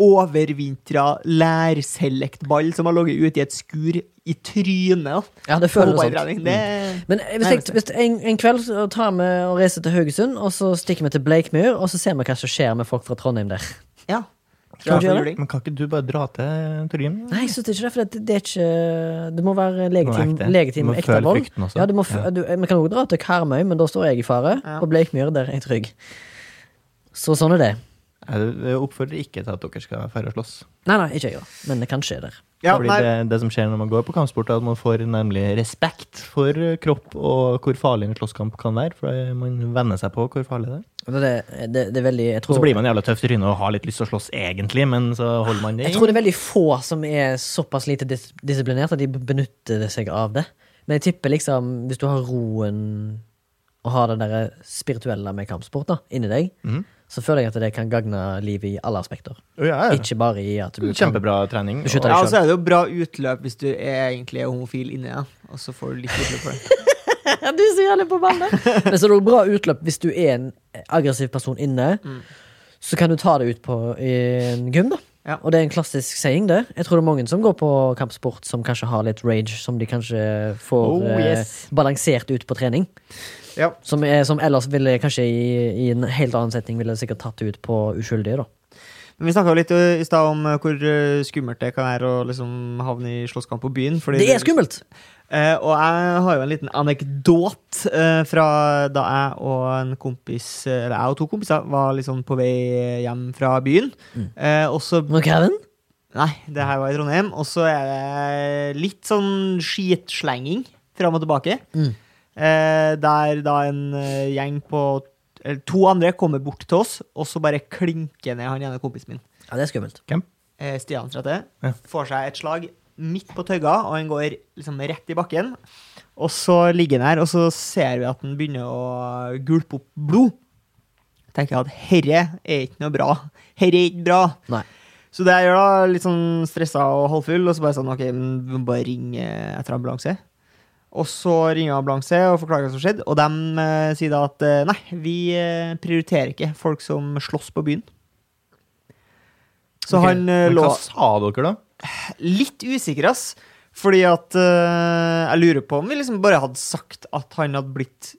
overvintra lærselect-ball som har ligget ute i et skur i trynet. da.
Ja, det
På
føles sånn.
fotballtrening. Det
Mm.
Men hvis, jeg, hvis en, en kveld så tar vi og reiser til Haugesund, og så stikker vi til Bleikmyr, og så ser vi hva som skjer med folk fra Trondheim der.
Ja.
Skal du gjøre
Men kan ikke du bare dra til Torgrim?
Nei, jeg synes ikke det, for det, det er ikke Det må være legitim,
Det må være ekte.
legitim
Du må
ekte
føle
vold.
frykten også.
Ja, du må f
Ja.
Du, vi kan også dra til Karmøy, men da står jeg i fare.
Ja.
På Bleikmyr, der er jeg trygg. Så sånn er det.
Jeg oppfordrer ikke til at dere skal færre å slåss.
Nei, nei, ikke jeg, da. Men det kan skje der.
Ja,
Fordi
nei,
det, det som skjer når man går på kampsport, er at man får nemlig respekt for eh, kropp og hvor farlig en slåsskamp kan være. For eh, man venner seg på hvor farlig det er.
Det, det, det er veldig jeg
Og
tror,
så blir man jævla tøff i trynet og har litt lyst til å slåss egentlig, men så holder man det
jeg tror det er veldig få som er såpass lite dis disiplinert at de benytter seg av det. Men jeg tipper liksom, hvis du har roen og har det der spirituelle med kampsport da, inni deg,
Mhm.
så føler jeg at det kan gagne livet i alle aspekter.
Å, ja, Mm, ja.
Ikke bare i at du kan-
Kjempebra trening.
Beskytter
Ja,
deg
og så
selv.
er det jo bra utløp hvis du er egentlig er homofil inni deg, og så får du litt utløp for det.
Ja, du er så jævlig på ballen. Men så er det også bra utløp hvis du er en aggressiv person inne. Så kan du ta det ut på en gym, da.
Mm. Ja.
Og det er en klassisk saying, det. Jeg tror det er mange som går på kampsport som kanskje har litt rage, som de kanskje får
Oh, yes.
eh, balansert ut på trening.
Ja.
Som, er, som ellers ville kanskje i, i en helt annen setning ville sikkert tatt det ut på uskyldige, da.
Men vi snakka litt ø, i stad om ø, hvor ø, skummelt det kan være å liksom havne i slåsskamp på byen. Fordi
Det er skummelt!
Eh, og jeg har jo en liten anekdot eh, fra da jeg og en kompis eh, Eller jeg og to kompiser var liksom på vei hjem fra byen. Eh, og så
Nå, Kevin?
Nei, det her var i Trondheim. Og så er det litt sånn skitslenging fram og tilbake.
Mm.
Eh, der da en eh, gjeng på eller To andre kommer bort til oss, og så bare klinker ned han ene kompisen min.
Ja, det er skummelt.
Hvem?
Eh, Stian tror jeg det
Ja.
er, får seg et slag midt på tøgga, og han går liksom rett i bakken. Og så ligger han her, og så ser vi at han begynner å gulpe opp blod. tenker jeg at herre er ikke noe bra. Herre er ikke bra.
Nei.
Så det jeg gjør da, litt sånn stressa og halvfull, og så bare sånn, ok, men vi må bare ring eh, etter ambulanse. Og så ringer ambulanse og forklarer hva som skjedde, og de eh, sier da at eh, nei, vi eh, prioriterer ikke folk som slåss på byen. Så
Ok,
han eh,
Men
lå
hva sa dere, da?
litt usikker, ass. Fordi at eh, Jeg lurer på om vi liksom bare hadde sagt at han hadde blitt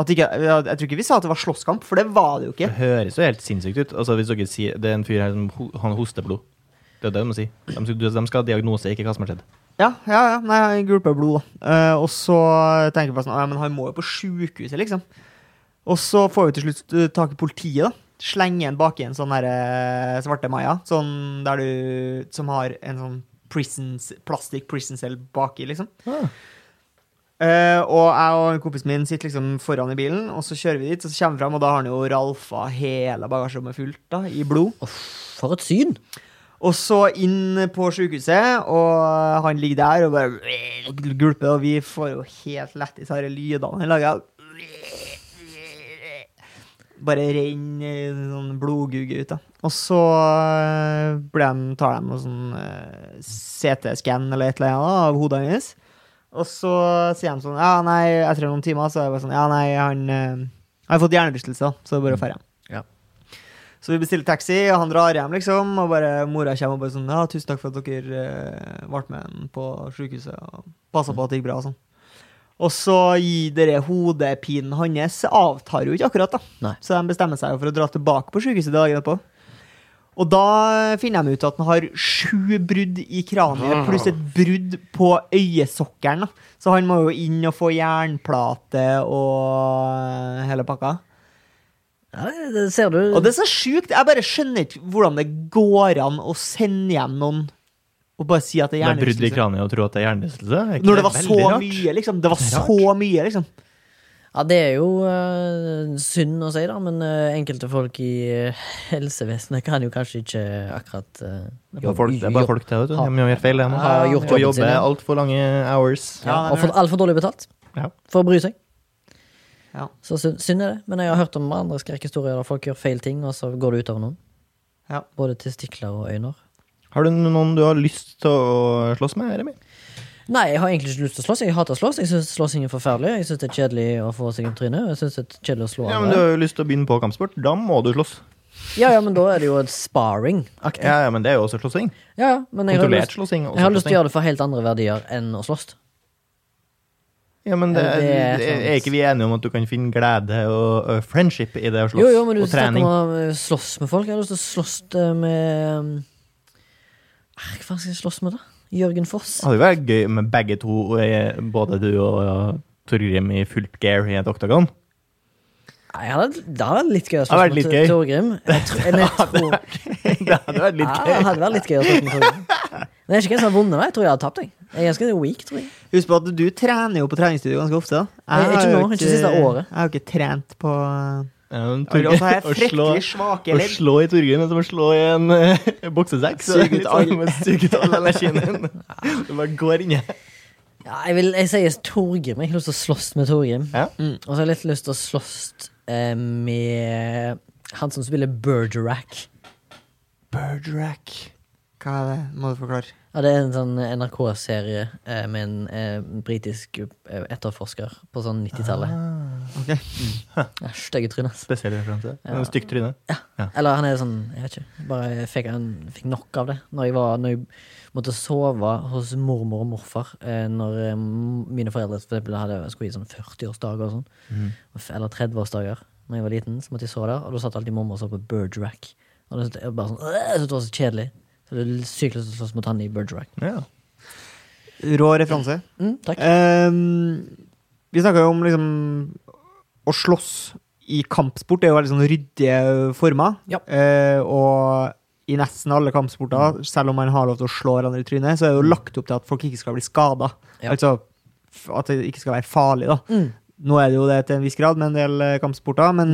at ikke, Jeg tror ikke vi sa at det var slåsskamp, for det var det jo ikke.
Det høres jo helt sinnssykt ut. Altså, hvis dere sier Det er en fyr her som ho- han hoster blod. Det er det de må si. De skal, de skal ha diagnose, ikke hva som har skjedd.
Ja, ja, ja. Nei, han gulpa blod, da. Eh, og så tenker jeg på sånn «Nei, Men han må jo på sjukehuset, liksom. Og så får vi til slutt eh, tak i politiet, da. Slenge en baki en sånn derre svarte Maja, sånn der du Som har en sånn prisons, plastikk prison cell baki, liksom.
Ah.
Eh, og jeg og en kompis min sitter liksom foran i bilen, og så kjører vi dit. Og så kommer vi fram, og da har han jo ralfa hele bagasjerommet fullt da, i blod.
Uff, for et syn!
Og så inn på sykehuset, og han ligger der og bare gulper, og vi får jo helt lættis av de lydene han lager. Bare renner sånn blodgugge ut, da. Og så eh, ble de, tar de noe sånn eh, CT-skann eller et eller annet da, av hodet hans. Og så sier de sånn Ja, nei, etter noen timer så er det bare sånn Ja, nei, han eh, har fått hjernerystelse, da, så det er bare å dra hjem. Så vi bestiller taxi, og han drar hjem, liksom. Og bare mora kommer og bare sånn Ja, tusen takk for at dere eh, ble med ham på sykehuset og passa på at det gikk bra og sånn. Og så gir dere hodepinen hans avtar jo ikke akkurat, da.
Nei.
Så de bestemmer seg jo for å dra tilbake på sykehuset dagen etterpå. Og da finner de ut at han har sju brudd i kraniet, pluss et brudd på øyesokkelen. da. Så han må jo inn og få jernplate og eh, hele pakka.
Ja, det, det ser du.
Og det er så sjukt. Jeg bare skjønner ikke hvordan det går an å sende hjem noen og bare si at det er
Det er brudd i
hjernerystelse.
kraniet og tro at det er hjernerystelse. Er ikke
Når det var så
veldig rart?
mye, liksom. Det var
Det er
så mye, liksom.
Ja, det er jo eh, synd å si, da, men eh, enkelte folk i eh, helsevesenet kan jo kanskje ikke akkurat uh,
Det er bare folk, det er bare folk til, vet du. De gjør feil, de.
Har gjort
Og
jobben sin,
jobber
ja.
altfor lange hours.
Ja,
Ja,
og fått altfor dårlig betalt
Ja.
for å bry seg.
Ja.
Så synd, synd er det. Men jeg har hørt om andre skrekkhistorier der folk gjør feil ting, og så går det utover noen.
Ja.
Både testikler og øyne.
Har du noen du har lyst til å slåss med, Remi?
Nei, jeg har egentlig ikke lyst til å slåss. Jeg hater slåss. Jeg syns slåssing er forferdelig. Jeg syns det er kjedelig å få seg om trynet. Jeg synes det er kjedelig å slå
Ja, men
andre.
Du har jo lyst til å begynne på kampsport. Da må du slåss.
Ja, ja, men da er det jo et sparring-aktig. Ja.
Ja, ja, men det er jo også slåssing.
ja, men jeg har,
Kontrollert
lyst,
slåssing. og
jeg har lyst til å
slåssing.
gjøre det for helt andre verdier enn å slåss.
Ja, men det,
Ja, det er
er,
sant.
er ikke vi enige om at du kan finne glede og, og friendship i det å slåss?
Jo, jo, men du
og trening?
snakker om å eh, slåss med folk. Jeg har lyst til å slåss eh, med um, ah, Hva faen skal jeg slåss med, da? Jørgen Foss.
Det hadde jo vært gøy med begge to, og jeg- både du og ja, Torgrim i fullt gear i et oktagon.
Nei, jeg hadde, Ah, det hadde vært litt gøy å
hadde
slåss
vært
med
litt
Tor-
gøy.
Torgrim. Jeg tror, men jeg tror,
Det hadde vært
ja,
litt
det
gøy.
hadde vært litt gøy å slåss med Torgrim. Men jeg er ikke hvem som har vunnet, da. Jeg tror jeg hadde tapt. Jeg. jeg er ganske weak, tror jeg.
Husk på at du trener jo på treningsstudio ganske ofte. da.
Nei, ikke
har jo
nå, ikke siste året.
Jeg har jo ikke trent på eh,
Um,
Og så har jeg
å slå,
fryktelig svake
å
ledd.
slå i Torgeir men som å slå i en uh, bokseseks.
Suge ut all-
Suge ut all energien din. Du bare går inni.
Ja, jeg, vil, jeg sier Torgrim. Jeg har lyst til å slåss med Torgrim.
Ja.
Mm. Og så har jeg litt lyst til å slåss eh, med han som spiller Bergerac.
Birdrack. Hva er det? Må du forklare.
Ja, det er en sånn NRK-serie eh, med en eh, britisk eh, etterforsker på sånn 90-tallet.
Ok.
Ja, Stygge tryne, ass.
Spesiell referanse.
Ja.
Stygt tryne.
Eller han er sånn, jeg vet ikke. Bare fikk, han fikk nok av det. Når jeg, var, når jeg måtte sove hos mormor og morfar eh, når eh, mine foreldre for eksempel, hadde, skulle i sånn 40-årsdager og sånn, og- eller 30-årsdager Når jeg var liten, så måtte jeg sove der, og da satt alltid mormor og så på Bergerac. Og det jeg bare sånn, øh, så det var så kjedelig. Så det er sykt lyst til å slåss mot han i Bergerac.
Ja.
Rå referanse.
Mm, takk.
Ehm, vi snakka jo om liksom å slåss i kampsport. Det er jo veldig sånn ryddige former.
Ja.
Eh, og i nesten alle
Mm.
kampsporter, selv om man har lov til å slå hverandre i trynet, så er det jo lagt opp til at folk ikke skal bli skada.
Ja.
Altså f- at det ikke skal være farlig, da.
Mm.
Nå er det jo det til en viss grad med en del eh, kampsporter, men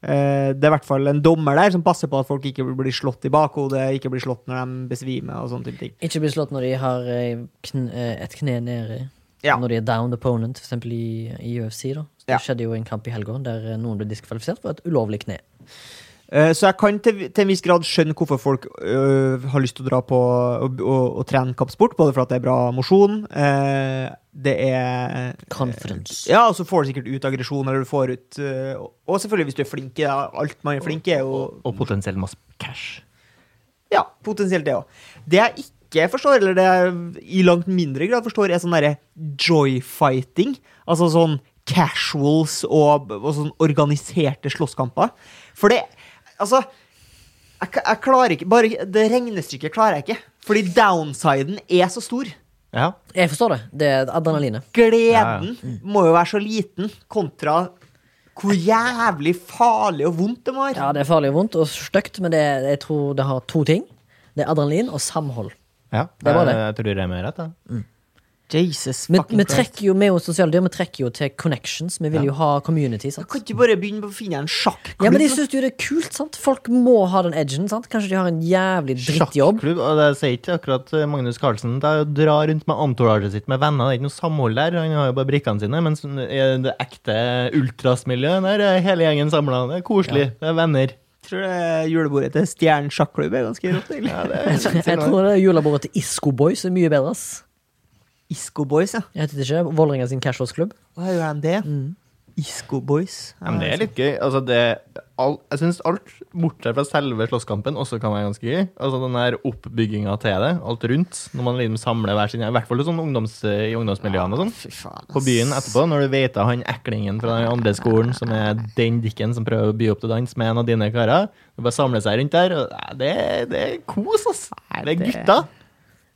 eh, det er i hvert fall en dommer der som passer på at folk ikke blir slått i bakhodet, ikke blir slått når de besvimer og sånne type ting.
Ikke bli slått når de har eh, kn eh, et kne nede.
Ja.
Når de er down opponent, f.eks. I, i UFC. da Så Det
Ja.
skjedde jo en kamp i helga der eh, noen ble diskvalifisert for et ulovlig kne.
Eh, Så jeg kan til, til en viss grad skjønne hvorfor folk øh, har lyst til å dra på og, og, og trene kampsport, både for at det er bra mosjon, eh, det er
Confidence.
Ja, og så får du sikkert ut aggresjon, eller du får ut eh, og- Og selvfølgelig, hvis du er flink i det. Alt man er flink i, er jo
Og potensiell masse cash.
Ja, potensielt det òg. Det jeg ikke forstår, eller det jeg i langt mindre grad forstår, er sånn derre joyfighting. Altså sånn casuals og, og sånn organiserte slåsskamper. For det Altså, jeg, k- jeg klarer ikke Bare det regnestykket klarer jeg ikke. Fordi downsiden er så stor.
Ja.
Jeg forstår det. Det er adrenalinet.
Gleden må jo være så liten kontra hvor jævlig farlig og vondt det må være.
Ja, Det er farlig og vondt og stygt, men det er, jeg tror det har to ting. Det er adrenalin og samhold.
ja.
Det var det.
Jeg, jeg tror jeg er med rett, da.
Jesus
Vi,
fucking
vi
Christ.
trekker jo med oss sosiale dyr, vi trekker jo til connections. Vi vil jo ha community.
Du
sant?
kan ikke bare begynne på å finne en sjakklubb.
Ja, men De syns jo det er kult. sant? Folk må ha den edgen. sant? Kanskje de har en jævlig drittjobb.
Sjakklubb, og det sier ikke akkurat eh, Magnus Carlsen. Det er å dra rundt med entouraget sitt med venner. Det er ikke noe samhold der. Han har jo bare brikkene sine. Mens i det ekte ultrasmiljøet der er hele gjengen samla. Det er koselig. Det er venner.
Jeg tror det julebordet til Stjernen sjakklubb er ganske rått, egentlig.
Jeg tror- jeg tror det er julebordet til Isco Boys er mye bedre. ass.
Isco Boys, ja.
Jeg heter det ikke Vålerenga sin cashhouse-klubb.
Hva gjør de det?
Mm.
Isco Boys.
Ja, men det er litt gøy. Altså, det, all, jeg syns alt, bortsett fra selve slåsskampen, også kan være ganske gøy. Altså den der oppbygginga til det, alt rundt, når man liksom samler hver sin I hvert fall i sånn ungdoms, i ungdomsmiljøene og sånn.
Fy faen.
På byen etterpå, når du vet av han eklingen fra den andre skolen som er den dikken som prøver å by opp til dans med en av dine karer, du bare samler seg rundt der, og nei, det, det er kos, ass. Det er
det-
gutta.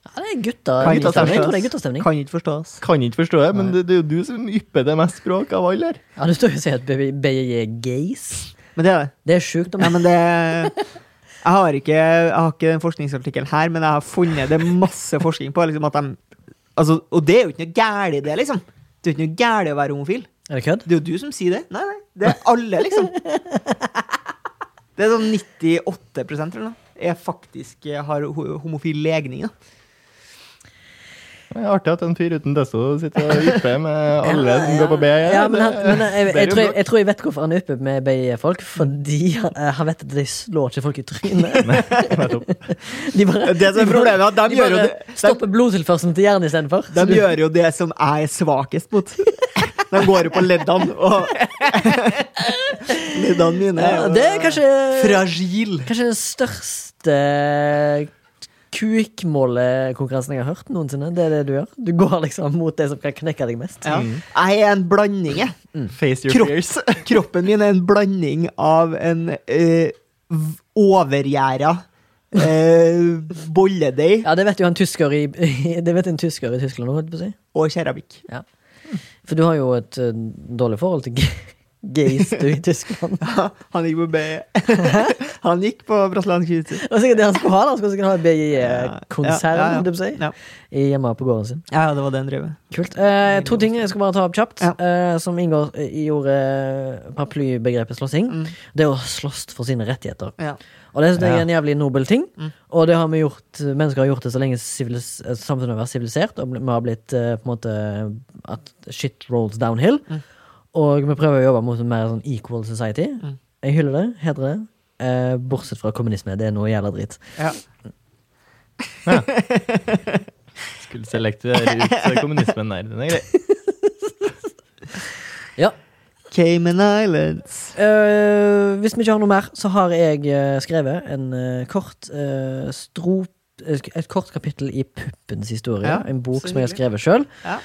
Ja, det er gutter.
Kan ikke
guttastemning. Jeg
forstås.
tror det er guttastemning.
Kan ikke forstås.
Kan ikke forstå det, men det, det er jo du som ypper det mest språk av alle her.
Ja, du står jo og sier at BJJ er gays.
Men det er det.
Det er sjukt.
Nei,
om-
men det jeg har, ikke, jeg har ikke den forskningsartikkelen her, men jeg har funnet det er masse forskning på liksom, at de altså, Og det er jo ikke noe gærent i det, liksom. Det er jo ikke noe gærent i å være homofil.
Er det kødd?
Det er jo du som sier det. Nei, nei. Det er alle, liksom. Det er sånn 98 eller noe. Jeg faktisk eh, har ho- homofil legning. Da.
Det er artig at en fyr uten desto sitter og ypper med alle som går på BI.
Ja, men, han, men eh, jeg, jeg,
det er jo
tror, jeg,
bra.
jeg tror jeg vet hvorfor han er oppe med BJJ-folk. Fordi eh, han vet at de slår ikke folk i trynet. De bare, de
Det som er
bare-
problemet er at de gjør jo
bare
det- de-
stopper blodtilførselen til hjernen istedenfor.
De gjør jo det som jeg er svakest mot. De går jo på leddene, og Leddene mine er
Ja,
jo eh,
det er kanskje,
fragile.
kanskje den største eh, kukmålekonkurransen jeg har hørt noensinne. Det er det du gjør. Du går liksom mot det som kan knekke deg mest.
Ja. Jeg er en blanding, jeg.
Mm.
Face your
Kropp.
fears.
Kroppen min er en blanding av en uh, overgjæra uh, bolledeig
Ja, det vet jo en tysker i, det vet en tysker i Tyskland nå, holdt jeg på å si.
og keramikk.
For du har jo et eh, dårlig forhold til Gays du i Tyskland.
Han gikk på B. han gikk på brasiliansk jiu-jitsu.
Det var sikkert det han skulle ha. da. Han skulle sikkert ha en
Ja, ja, ja.
BJJ-konsern
Ja.
hjemme på gården sin.
ja, det var det han drev med.
Kult. Eh, to ting jeg skal bare ta opp kjapt,
Ja.
eh, som inngår i ordet paraplybegrepet slåssing.
Mm.
Det er å slåss for sine rettigheter.
Ja.
Og det synes jeg
Ja.
er en jævlig nobel ting,
Mm.
og det har vi gjort, mennesker har gjort det så lenge sivilis, eh, samfunnet har vært sivilisert, og vi har blitt eh, på en måte at shit rolls downhill.
Mm.
Og vi prøver å jobbe mot en mer sånn equal society.
Mm.
Jeg hyller det, hedrer det. Eh, bortsett fra kommunisme, det er noe jævla dritt.
Ja.
Skulle selektere ut kommunismen der. Den er grei.
Cayman Islands.
Eh, hvis vi ikke har noe mer, så har jeg eh, skrevet en eh, kort eh, strop eh, et kort kapittel i Puppens historie.
Ja,
en bok
så
som jeg har skrevet
hyggelig.
sjøl.
Ja.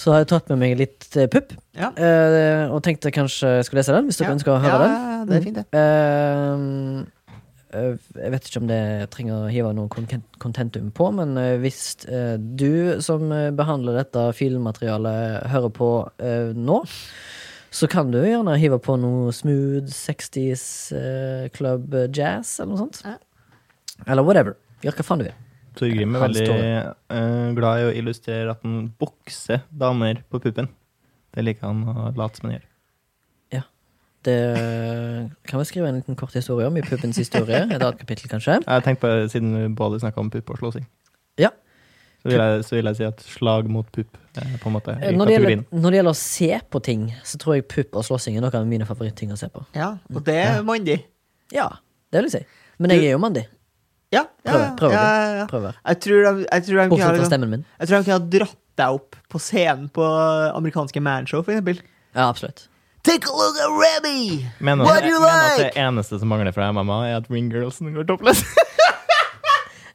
Så har jeg tatt med meg litt eh, pupp,
Ja.
eh, og tenkte kanskje jeg skulle lese den, hvis dere
ja.
ønsker å høre
ja,
den.
Ja, det er fint, det.
Ehm, eh, jeg vet ikke om det trenger å hive noe kon- kontentum på, men eh, hvis eh, du som eh, behandler dette filmmaterialet, hører på eh, nå, så kan du gjerne hive på noe smooth 60s eh, club jazz eller noe sånt.
Ja.
Eller whatever. Gjør hva faen du vil.
Torgrim er
Han
veldig eh, glad i å illustrere at han bokser damer på puppen. Det liker han å late som han gjør.
Det eh, kan vi skrive en liten kort historie om i Puppens historie. Et annet kapittel, kanskje.
Jeg tenkte på, Siden både snakka om pupp og slåssing,
Ja.
så, vil jeg- så vil jeg si at slag mot pupp er på en måte i
Eh, Når det, gjelder,
kategorien.
når det gjelder å se på ting, så tror jeg pupp og slåssing er noen av mine favorittting å se på.
Ja, og det er mandig.
Ja, det vil jeg si. Men jeg er jo mandig.
Ja, ja,
Prøver, prøver
ja, ja, ja.
Prøver.
Jeg tror de, jeg tror de kunne ha
Bortsett fra
liksom-
stemmen min.
jeg tror de kunne ha dratt deg opp på scenen på amerikanske manshow, for eksempel.
Ja, absolutt.
Take a look at Remy!
Men
What
at,
do you
men at det
like?
eneste som mangler fra MMA, er at ringgirlsen går toppløs.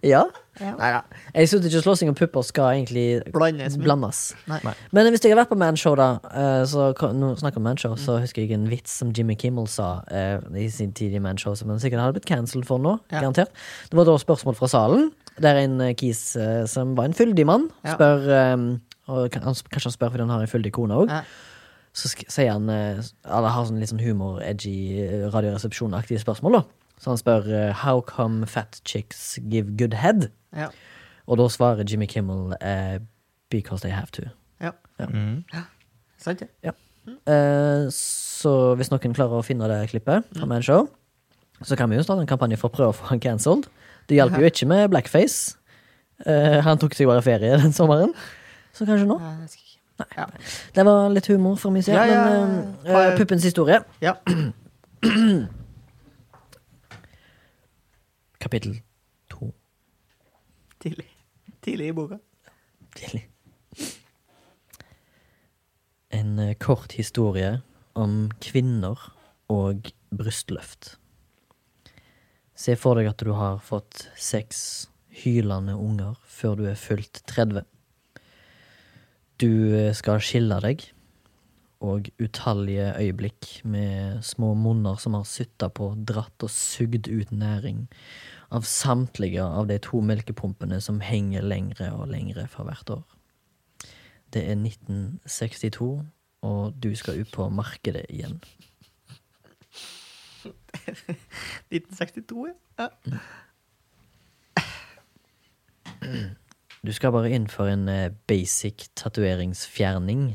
Ja.
Ja.
Neida. Jeg synes ikke slåssing og pupper skal egentlig
Blandes med.
blandes.
Nei.
Nei.
Men hvis jeg har vært på manshow, da eh, så, kan- Nå snakker om manshow,
Mm.
så husker jeg en vits som Jimmy Kimmel sa eh, i sin tid i manshow, som han sikkert hadde blitt cancelled for nå.
Ja.
Garantert. Det var da spørsmål fra salen, der en eh, kis eh, som var en fyldig mann,
Ja.
spør eh, og kan- han sp- Kanskje han spør fordi han har en fyldig kone òg.
Ja.
Så sk sier han eh, Eller har sånn litt sånn humor-edgy eh, radioresepsjonaktige spørsmål, da. Så han spør eh, How come fat chicks give good head?
Ja.
Og da svarer Jimmy Kimmel eh, Because they have to.
Ja.
Mm.
Sant det?
Eh, så hvis noen klarer å finne det klippet
Mm.
fra Man Show, så kan vi jo starte en kampanje for å prøve å få han cancelled. Det hjalp jo ikke med blackface. Eh, han tok seg bare ferie den sommeren. Så kanskje nå.
Nei, jeg skal ikke.
Det var litt humor fra min side,
Ja, ja, ja.
men eh, eh, puppens historie.
Ja.
Kapittel to.
Tidlig. Tidlig i boka.
Tidlig. En eh, kort historie om kvinner og brystløft. Se for deg at du har fått seks hylende unger før du er fylt 30. Du eh, skal skille deg, og utallige øyeblikk med små munner som har sutta på, dratt og sugd ut næring av samtlige av de to melkepumpene som henger lengre og lengre for hvert år. Det er 1962, og du skal ut på markedet igjen.
1962, ja.
Du skal bare inn for en eh, basic tatoveringsfjerning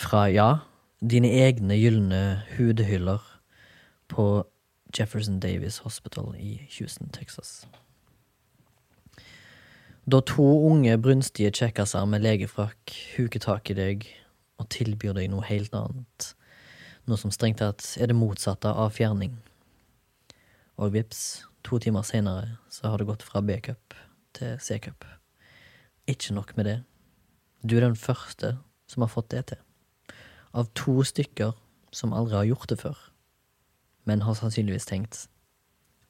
fra, ja, dine egne gylne hudhyller på Jefferson Davis Hospital i Houston, Texas. Da to unge, brunstige kjekkaser med legefrakk huker tak i deg og tilbyr deg noe helt annet, noe som strengt tatt er det motsatte av fjerning. Og vips, to timer senere så har det gått fra B-cup til C-cup. Ikke nok med det. Du er den første som har fått det til. Av to stykker som aldri har gjort det før. Men har sannsynligvis tenkt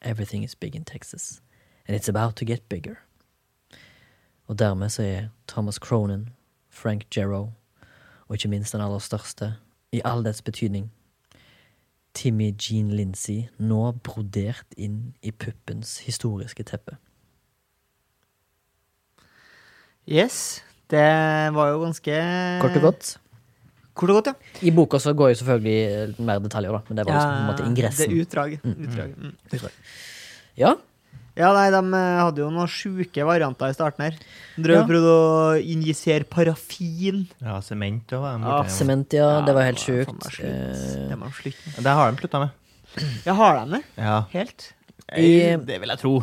Everything is big in Texas. And it's about to get bigger. Og dermed så er Thomas Cronan, Frank Gero og ikke minst den aller største, i all dets betydning, Timmy Jean Lindsay nå brodert inn i puppens historiske teppe.
Yes. Det var jo ganske
Kort og godt.
Kort og godt, ja.
I boka så går jo selvfølgelig eh, mer detaljer, da. Men det var liksom, på en måte ingressen.
Det er utdraget. utdraget. Mm.
Ja,
Ja, nei, de eh, hadde jo noen sjuke varianter i starten her. Drev
Ja.
og prøvde å injisere parafin.
Ja, sement og
Ja,
Ah, Sement, ja. Det var helt
det
sjukt.
faen meg
Eh,
slutt. Det må de slutte med.
Det har de slutta med.
Ja, har de det?
Ja.
Helt?
I-
det vil jeg tro.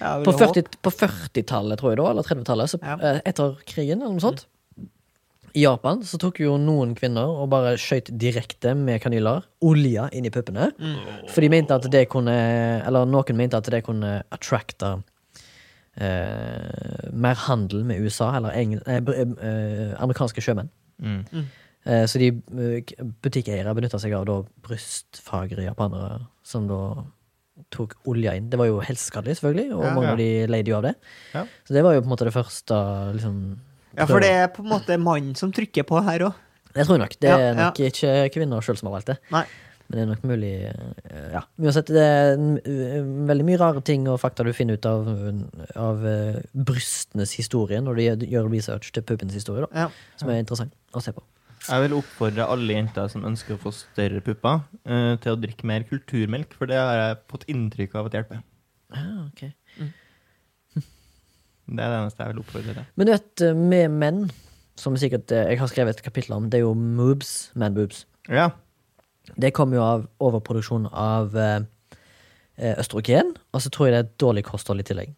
Ja, jeg vil
På
håpe.
40 på 40-tallet, tror jeg, da, eller 30-tallet, så,
Ja.
eh, etter krigen, eller noe sånt, i Japan, så tok jo noen kvinner og bare skøyt direkte med kanyler olje inn i puppene.
Mm.
For de mente at det kunne Eller noen mente at det kunne attracte eh, mer handel med USA, eller eng- eh, br- eh, amerikanske sjømenn.
Mm.
Eh, så de eh, k- butikkeiere benytta seg av da brystfagre japanere som da tok olja inn. Det var jo helseskadelig, selvfølgelig, og
Ja.
mange
Ja.
av de leide jo av det.
Ja.
Så det var jo på en måte det første liksom,
Ja, for det er på en måte mannen som trykker på her òg.
Jeg tror nok. Det
Ja,
er
ja.
nok ikke kvinner sjøl som har valgt det.
Nei.
Men det er nok mulig eh, Ja. Uansett, det er en, eh, veldig mye rare ting og fakta du finner ut av, av eh, brystenes historie når du gjør- gjør research til puppens historie, da.
Ja.
Som er interessant å se på.
Jeg vil oppfordre alle jenter som ønsker å få større pupper, eh, til å drikke mer kulturmelk, for det har jeg fått inntrykk av at hjelper.
Ah, ok.
Det er det eneste jeg vil oppfordre til.
Men du vet, eh, med menn, som sikkert eh, jeg har skrevet et kapittel om, det er jo moobs, man boobs.
Ja.
Det kommer jo av overproduksjon av eh, eh, østrogen, og så tror jeg det er et dårlig kosthold i tillegg.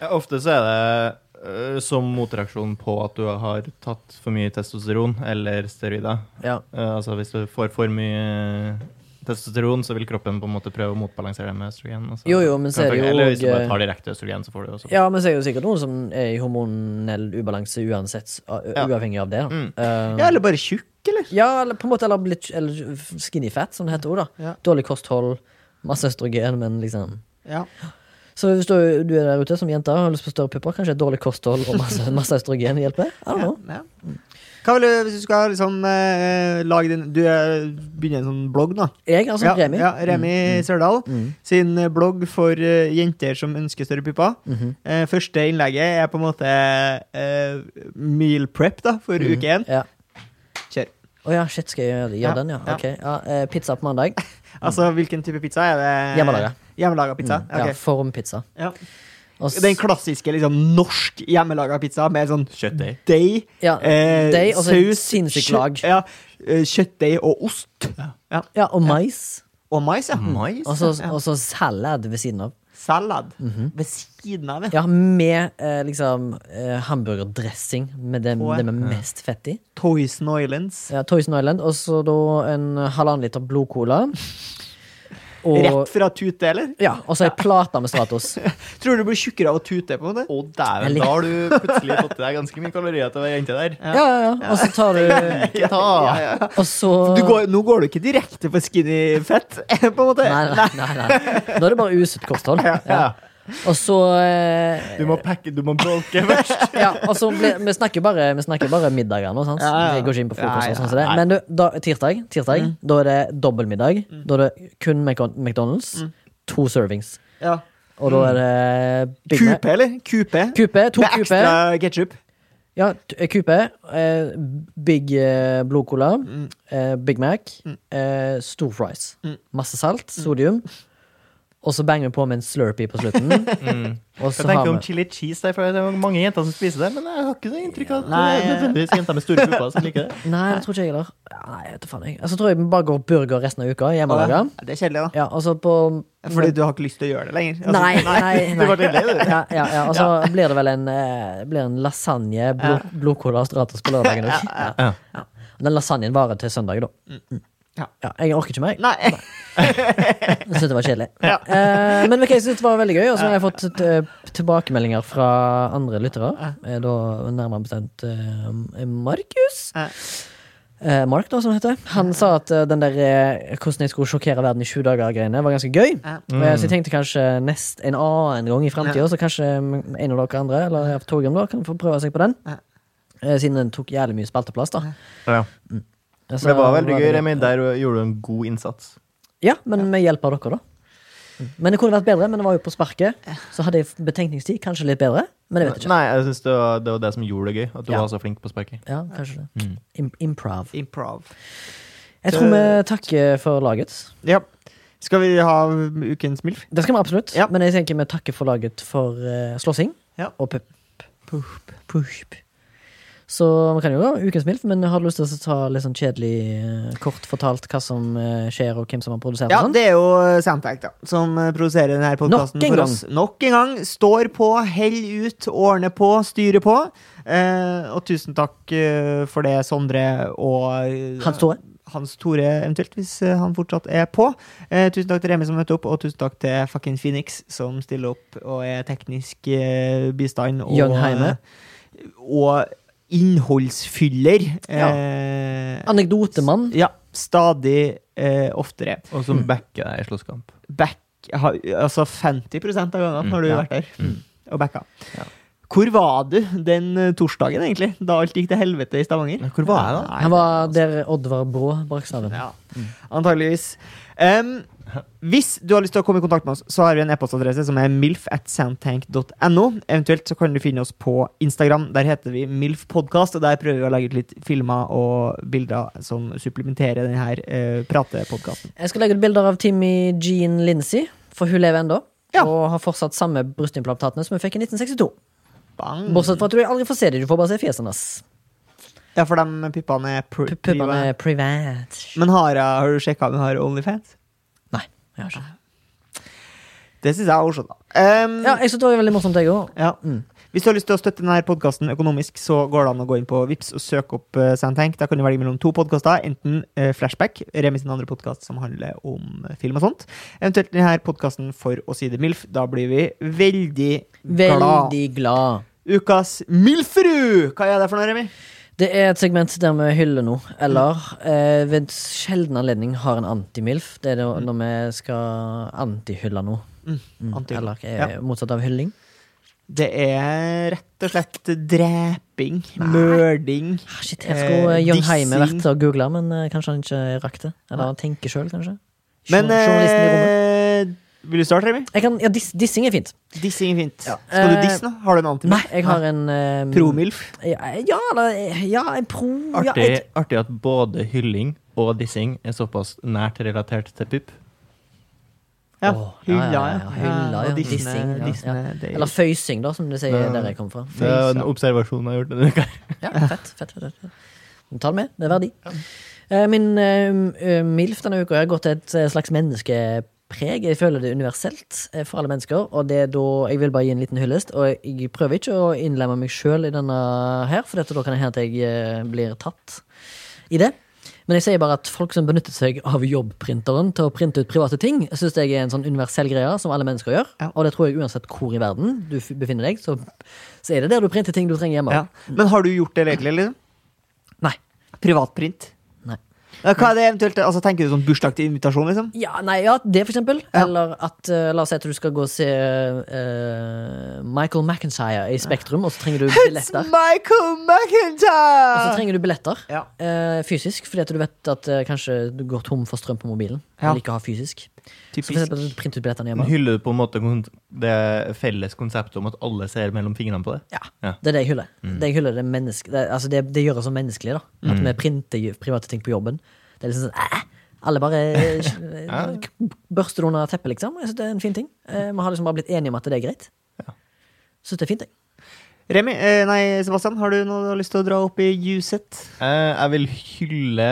Ja, Ofte så er det eh, som motreaksjon på at du har tatt for mye testosteron eller steroider.
Ja.
Eh, altså hvis du får for mye testosteron, så vil kroppen på en måte prøve å motbalansere det med østrogen. og så-
Jo, jo, men så er det jo
Eller hvis du
og-
bare tar direkte østrogen, så får du jo også
ja, men så er det jo sikkert noen som er i hormonell ubalanse uansett, s- u-
Ja.
uavhengig av det. da.
Mm.
Eh,
ja, eller bare tjukk, eller?
ja, eller på en måte eller blitt eller skinny fat, som det heter òg, da.
Ja.
Dårlig kosthold, masse østrogen, men liksom
Ja.
Så hvis du, du er der ute som jente og har lyst på større pupper, kanskje et dårlig kosthold og masse, masse østrogen hjelper? I don't
Ja,
know.
ja. Mm. Hva vil du, hvis du skal liksom eh, lage din Du eh, begynner en sånn blogg, da.
Jeg, altså,
ja,
Remi.
Ja, Remi Sørdal
Mm.
sin blogg for eh, jenter som ønsker større pupper.
Mhm.
Eh, første innlegget er på en måte eh, meal prep da, for
Mm.
uke én.
Ja.
Kjør.
Å ja, shit, skal jeg gjøre, gjøre
Ja,
den, ja?
ja.
Ok. Ja, eh, pizza på mandag.
Altså, hvilken type pizza er det?
Hjemmelaga.
Hjemmelaga pizza?
Mm, Ja,
ok.
Formpizza.
Ja.
Og s-
Den klassiske liksom, norsk hjemmelaga pizza med sånn
kjøttdeig.
deig,
ja,
eh,
deig og så et
saus,
sinnssykt
kjø-
lag.
Ja, eh, kjøttdeig og ost. Ja.
ja, og mais.
Og mais, ja.
Mais?
Og så
Ja.
og så salad ved siden av.
Salad. Ved siden av
Mhm.
det.
Ja, med eh, liksom eh, hamburgerdressing, med det,
Å, ja.
det med mest fett i.
Toysen Islands.
Ja, Toysen Island. Og så da en halvannen liter blodcola.
Rett fra tute, eller?
Ja, og så ei plate med Stratos.
Tror du du blir tjukkere av å tute, på en måte?
Å, dæven,
Eller-
da har du plutselig fått i deg ganske mye kalorier til å være jente der.
Ja, ja, ja. Og så tar du
Ikke ta!
Og så
Du går, nå går du ikke direkte for skinny fett, på en måte.
Nei, nei, nei, nei. Nå er det bare usunt kosthold. Ja. Og så eh,
Du må pakke, du må bolke først.
ja, og så ble, Vi snakker bare, vi snakker bare middager nå, sant?
Ja, ja.
Vi går ikke inn på frokost.
Ja, ja,
og sånn som det. Men du, da, tirsdag, tirsdag
Mm.
da er det dobbeltmiddag. Da er det kun Mc- McDonald's.
Mm.
To servings.
Ja.
Og da er det Big Mac.
Kupe, eller? Kupe.
Kupe, to
Mm. Med
kupe.
ekstra ketsjup.
Ja, t- eh, kupe. Eh, big eh, blodcola. Eh, Big Mac. Eh, stor fries. Masse salt. Sodium. Og så banger vi på med en slurpee på slutten. Og
Jeg
så har
tenker om
vi
chili cheese der, for det er mange jenter som spiser det, men jeg har ikke så inntrykk av at
Nei.
det er nødvendigvis jenter med store pupper som liker det.
Nei, det tror ikke jeg heller. Ja, Nei, jeg vet da faen jeg. Altså, tror jeg vi bare går burger resten av uka.
Ja,
Hjemmelaga.
det er kjedelig, da.
Ja, og så på
Fordi du har ikke lyst til å gjøre det lenger. Altså,
Nei, nei, nei.
Du ble litt lei, du.
Ja, ja, ja, og så blir det vel en, eh, blir en lasagne, blod, blodkål og stratos på lørdagen òg. Ja. Mm.
Ja.
Ja. Den lasagnen varer til søndag, da.
Ja.
Ja, jeg orker ikke mer. jeg.
Nei.
Jeg synes det var kjedelig.
Ja.
Eh, men vet du hva, jeg synes det var veldig gøy, og så har jeg fått eh, tilbakemeldinger fra andre lyttere. Eh, Da nærmere bestemt eh, Markus.
Ja.
Eh, Mark, da, som det heter. Han sa at eh, den der eh, hvordan jeg skulle sjokkere verden i sju dager-greiene var ganske gøy.
Ja.
Eh, så jeg tenkte kanskje nest, en annen gang i framtida, så kanskje mm, en av dere andre eller jeg, Torgrim da, kan få prøve seg på den.
Ja.
Eh, siden den tok jævlig mye spalteplass, da. Altså,
Det var veldig gøy, Remi. Der gjorde du en god innsats.
Ja, men med hjelp av dere, da.
Mm.
Men det kunne vært bedre, men det var jo på sparket. Så hadde jeg betenkningstid, kanskje litt bedre. Men jeg vet ikke.
Nei, jeg synes det, var, det var det som gjorde det gøy, at du
Ja.
var så flink på sparket.
Ja, kanskje det. Im improv.
Improv.
Jeg tror vi takker for laget.
Ja. Skal vi ha ukens MILF?
Det skal vi absolutt.
Ja.
Men jeg tenker vi takker for laget for eh, slåssing
Ja.
og pup. Pup. Så vi kan jo ha ukens MILF, men har du lyst til å ta litt sånn kjedelig, eh, kort fortalt hva som eh, skjer, og hvem som har produsert
Ja,
og sånn?
det er jo Soundpack, da, som eh, produserer denne podkasten
Nok en
for
gang.
oss. Nok en gang. Står på, heller ut, ordner på, styrer på. Eh, og tusen takk eh, for det, Sondre og eh,
Hans Tore.
Hans Tore, eventuelt, hvis eh, han fortsatt er på. Eh, tusen takk til Remi som møtte opp, og tusen takk til fucking Phoenix som stiller opp og er teknisk eh, bistand. Og, eh,
Jørn Heime.
Og innholdsfyller.
Ja.
Eh,
Anekdotemann.
ja, stadig eh, oftere.
Og
Mm.
som backa deg i slåsskamp.
Back, ha- altså 50 av gangene
Mm,
har du
ja.
vært der og backa.
Ja.
Hvor var du den eh, torsdagen, egentlig? Da alt gikk til helvete i Stavanger?
Ja, hvor var jeg da?
Nei,
Han var der Oddvar Brå brakk staven.
ja, antageligvis. Em, hvis du har lyst til å komme i kontakt med oss, så har vi en e-postadresse som er milf at soundtank.no. Eventuelt så kan du finne oss på Instagram. Der heter vi milfpodkast, og der prøver vi å legge ut litt filmer og bilder som supplementerer denne her eh, pratepodkasten.
Jeg skal legge ut bilder av Timmy Jean Lindsay, for hun lever ennå.
Ja.
Og har fortsatt samme brystimplantatene som hun fikk i 1962.
Bang!
Bortsett fra at du aldri får se dem, du får bare se fjesene hans.
Ja, for de puppene er pr
Pu- Puppene
private.
er privat.
Men har, jeg- har du sjekka om hun har Onlyfans?
Nei, jeg har ikke.
Det syns jeg er morsomt. da. Um,
Ja, jeg synes det var veldig morsomt, jeg òg.
ja. Hvis du har lyst til å støtte denne podkasten økonomisk, så går det an å gå inn på Vips og søke opp uh, Soundtank. Da kan du velge mellom to podkaster. Enten eh, Flashback, Remi sin andre podkast som handler om eh, film og sånt. Eventuelt denne podkasten For å si det MILF. Da blir vi veldig, glad.
Veldig glad.
Ukas MILFRU! Hva er det for noe, Remi?
Det er et segment der vi hyller noe, eller eh, ved en sjelden anledning har en antimilf. Det er da,
Mm.
når vi skal antihylle noe.
Antihylle.
Eller eh, motsatt av hylling.
Det er rett og slett dreping, mørding
Ah, Shit, her skulle
Eh,
eh, Jørn Heime
dissing.
vært og googla, men eh, kanskje han ikke rakk det. Eller han tenker sjøl, kanskje.
Men
Jour- Journalisten i rommet.
eh, vil du starte, Remi?
Jeg kan, ja, diss, dissing er fint.
Dissing er fint.
Ja.
Skal du
Eh,
disse nå? Har du en antimilf?
Nei, jeg har en eh,
Promilf?
Ja, ja, eller- ja, en pro... Ja,
Artig,
jeg,
artig at både hylling og dissing er såpass nært relatert til pupp.
Ja.
Åh, ja,
Hylla,
ja,
ja.
ja, ja. Hylla, ja.
Og
Dissing, ja,
dissene, det er-
eller føysing, da, som de sier
Ja.
der jeg kommer fra.
Det er en observasjon jeg har gjort denne uka.
Ja, fett, fett, fett, fett. Men Ta det med, det er verdi. Eh, Min eh, eh, MILF denne uka har gått til et eh, slags menneskepreg. Jeg føler det er universelt eh, for alle mennesker, og det er da jeg vil bare gi en liten hyllest. Og jeg prøver ikke å innlemme meg sjøl i denne her, for dette, da kan det hende at jeg eh, blir tatt i det. Men jeg sier bare at folk som benytter seg av jobbprinteren til å printe ut private ting, syns jeg er en sånn universell greie som alle mennesker gjør.
Ja.
Og det tror jeg uansett hvor i verden du f- befinner deg, så, så er det der du printer ting du trenger hjemme.
Ja. Men har du gjort det egentlig? Liksom?
Nei.
Privatprint?
Nei.
Ja, Hva er det eventuelt? Altså, tenker du sånn bursdag til invitasjon, liksom?
Ja, nei, ja, det for eksempel.
Ja.
Eller at eh, la oss si at du skal gå og se eh, Michael McIntyre i Spektrum, og så trenger du
It's
billetter.
Michael
Og så
McIntyre!
trenger du billetter
Ja.
eh, fysisk, fordi at du vet at eh, kanskje du går tom for strøm på mobilen.
Ja.
Eller ikke har fysisk. Så for
Typisk.
eksempel print ut billettene hjemme.
Hyller du på en måte kon- det felles konseptet om at alle ser mellom fingrene på det?
Ja,
Ja. Mm.
det er det jeg hyller. Det jeg hyller det, er menneske, det, altså det, det gjør oss så menneskelige, da. At vi printer jo private ting på jobben. Det er liksom sånn æh, Alle bare eh, børster det under teppet, liksom. Jeg synes det er en fin ting. Eh, Vi har liksom bare blitt enige om at det er greit. Syns det er fint, jeg.
Remi, eh, nei, Sebastian, har du noe du har lyst til å dra opp i Uset?
Eh, jeg vil hylle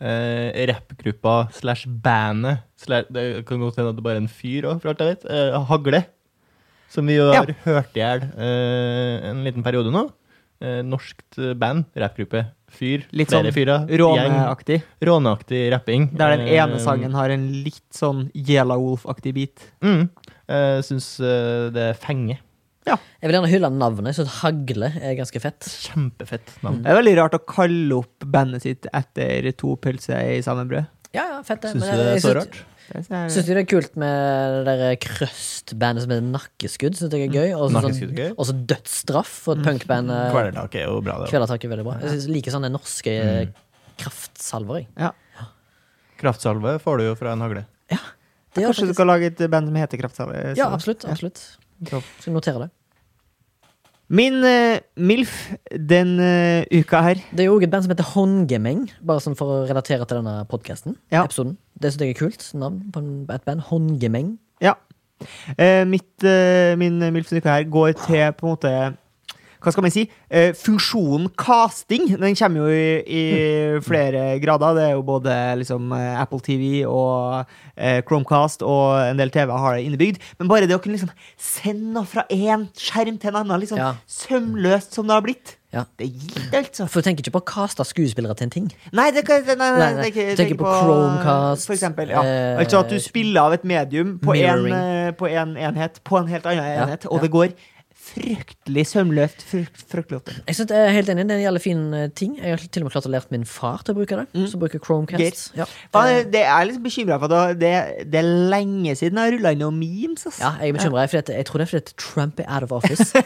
eh, rappgruppa slash bandet slash, Det kan godt hende at det bare er en fyr òg, for alt jeg vet. Eh, Hagle. Som vi jo
Ja.
har hørt i hjel eh, en liten periode nå. Eh, norskt band, rappgruppe. Fyr.
Litt
flere
sånn
fyrer. gjeng.
Råneaktig.
Råneaktig rapping.
Der den ene
Eh,
sangen har en litt sånn Yellow Wolf-aktig beat.
Mm. Eh, Syns eh, det er fenge.
Jeg vil gjerne hylle navnet. Jeg syns Hagle er ganske fett.
Kjempefett navn.
Det er veldig rart å kalle opp bandet sitt etter to pølser i samme brød.
Ja, ja, fett det.
Syns
Men
du det
jeg- Mm.
er
jeg
så
syns-
rart?
Det er-
Syns du det er kult med det der crust-bandet som heter Nakkeskudd? Syns jeg er gøy. Og
Nakkeskudd
så
er gøy.
sånn, dødsstraff for et punkband. eh,
Kvelertak er jo bra, det. også.
Kvelertak er veldig bra. Jeg synes, liker sånne norske eh, kraftsalver, jeg.
Ja.
Kraftsalve får du jo fra en hagle.
Det gjør
Kanskje du
faktisk.
skal lage et band som heter eh, Kraftsalve?
Ja, absolutt. absolutt.
Topp.
Skal notere det.
Min eh, MILF den eh, uka her
Det er jo også et band som heter Håndgemeng, bare sånn for å relatere til denne podkasten.
Ja.
Episoden. Det syns jeg er kult. Navn på en- et band. Håndgemeng.
Ja. Eh, mitt, eh, min MILF denne uka her går til på en måte Hva skal man si? Eh, funksjonen casting. Den kommer jo i, i
Mm.
flere grader. Det er jo både liksom, eh, Apple TV og eh, Chromecast og en del TV har det innebygd. Men bare det å kunne liksom, sende noe fra én skjerm til en annen, liksom,
Ja.
sømløst som det har blitt,
Ja.
det gir det, altså.
For du tenker ikke på å kaste skuesspillere til en ting?
Nei, det kan, nei, nei, nei,
Nei, nei.
det kan- jeg
Tenker på Chromecast,
For eksempel, ja.
eh,
altså at du spiller av et medium på en,
mirroring.
eh, på en enhet, på en helt annen
Ja,
enhet,
ja.
og det går fryktelig sømløst. Frykt, fryktelig ofte.
Jeg synes jeg er helt enig, Det er en jævlig fin eh, ting. Jeg har til og med klart å lært min far til å bruke det. Som bruker Chromecast. Ja.
Faen, det er liksom bekymra for at det, det er lenge siden jeg har rulla inn noen memes. Ass.
Ja, jeg er bekymret, fordi at jeg tror det er fordi at Trump er out of office.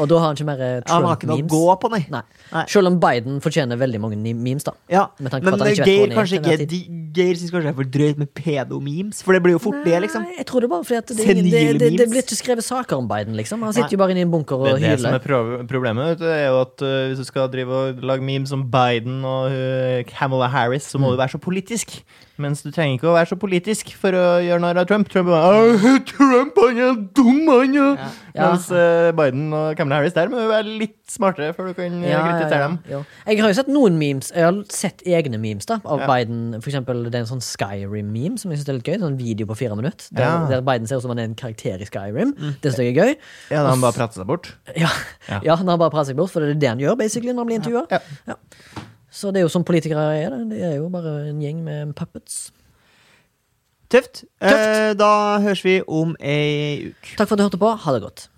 Og da har han ikke mer eh,
Han har ikke noe å
Trump-memes.
gå på, nei.
Nei.
Nei.
Selv om Biden fortjener veldig mange ni- memes, da.
Ja,
Med tanke på
men
at han ikke vet hvor
Geir,
han er
kanskje
til enhver
ikke, de, Geir syns kanskje det er for drøyt med pedo-memes, for det blir jo fort det, liksom.
Nei, jeg tror det bare fordi at det, er ingen- det,
Senile
det, det
memes.
blir ikke skrevet saker om Biden, liksom. Han sitter
Nei.
jo bare inne i en bunker og
Det er det som
hyler.
er pro- problemet, vet du, er jo at eh, hvis du skal drive og lage memes om Biden og eh, Kamala Harris,
Mm.
så må du være så politisk. Mens du trenger ikke å være så politisk for å gjøre narr av Trump. Trump, er bare, «Åh, Trump han er dum, han er
Ja.
Mens eh, Biden og Kamala Harris der må jo være litt smartere før du kan eh, kritisere dem.
ja. Jeg har jo sett noen memes. Jeg har sett egne memes da av
Ja.
Biden. For eksempel det er en sånn Skyrim-meme som jeg synes er litt gøy. En sånn video på fire minutter der,
Ja.
der Biden ser ut som han er en karakter i Skyrim. Det synes jeg er gøy.
Ja, da han bare prater seg bort.
Ja,
Ja.
ja når han bare prater seg bort, for det er det han gjør basically når han blir intervjua.
Ja.
Så det er jo sånn politikere er. det De er jo bare en gjeng med puppets.
Tøft. Eh, da høres vi om ei uke.
Takk for at du hørte på. Ha det godt.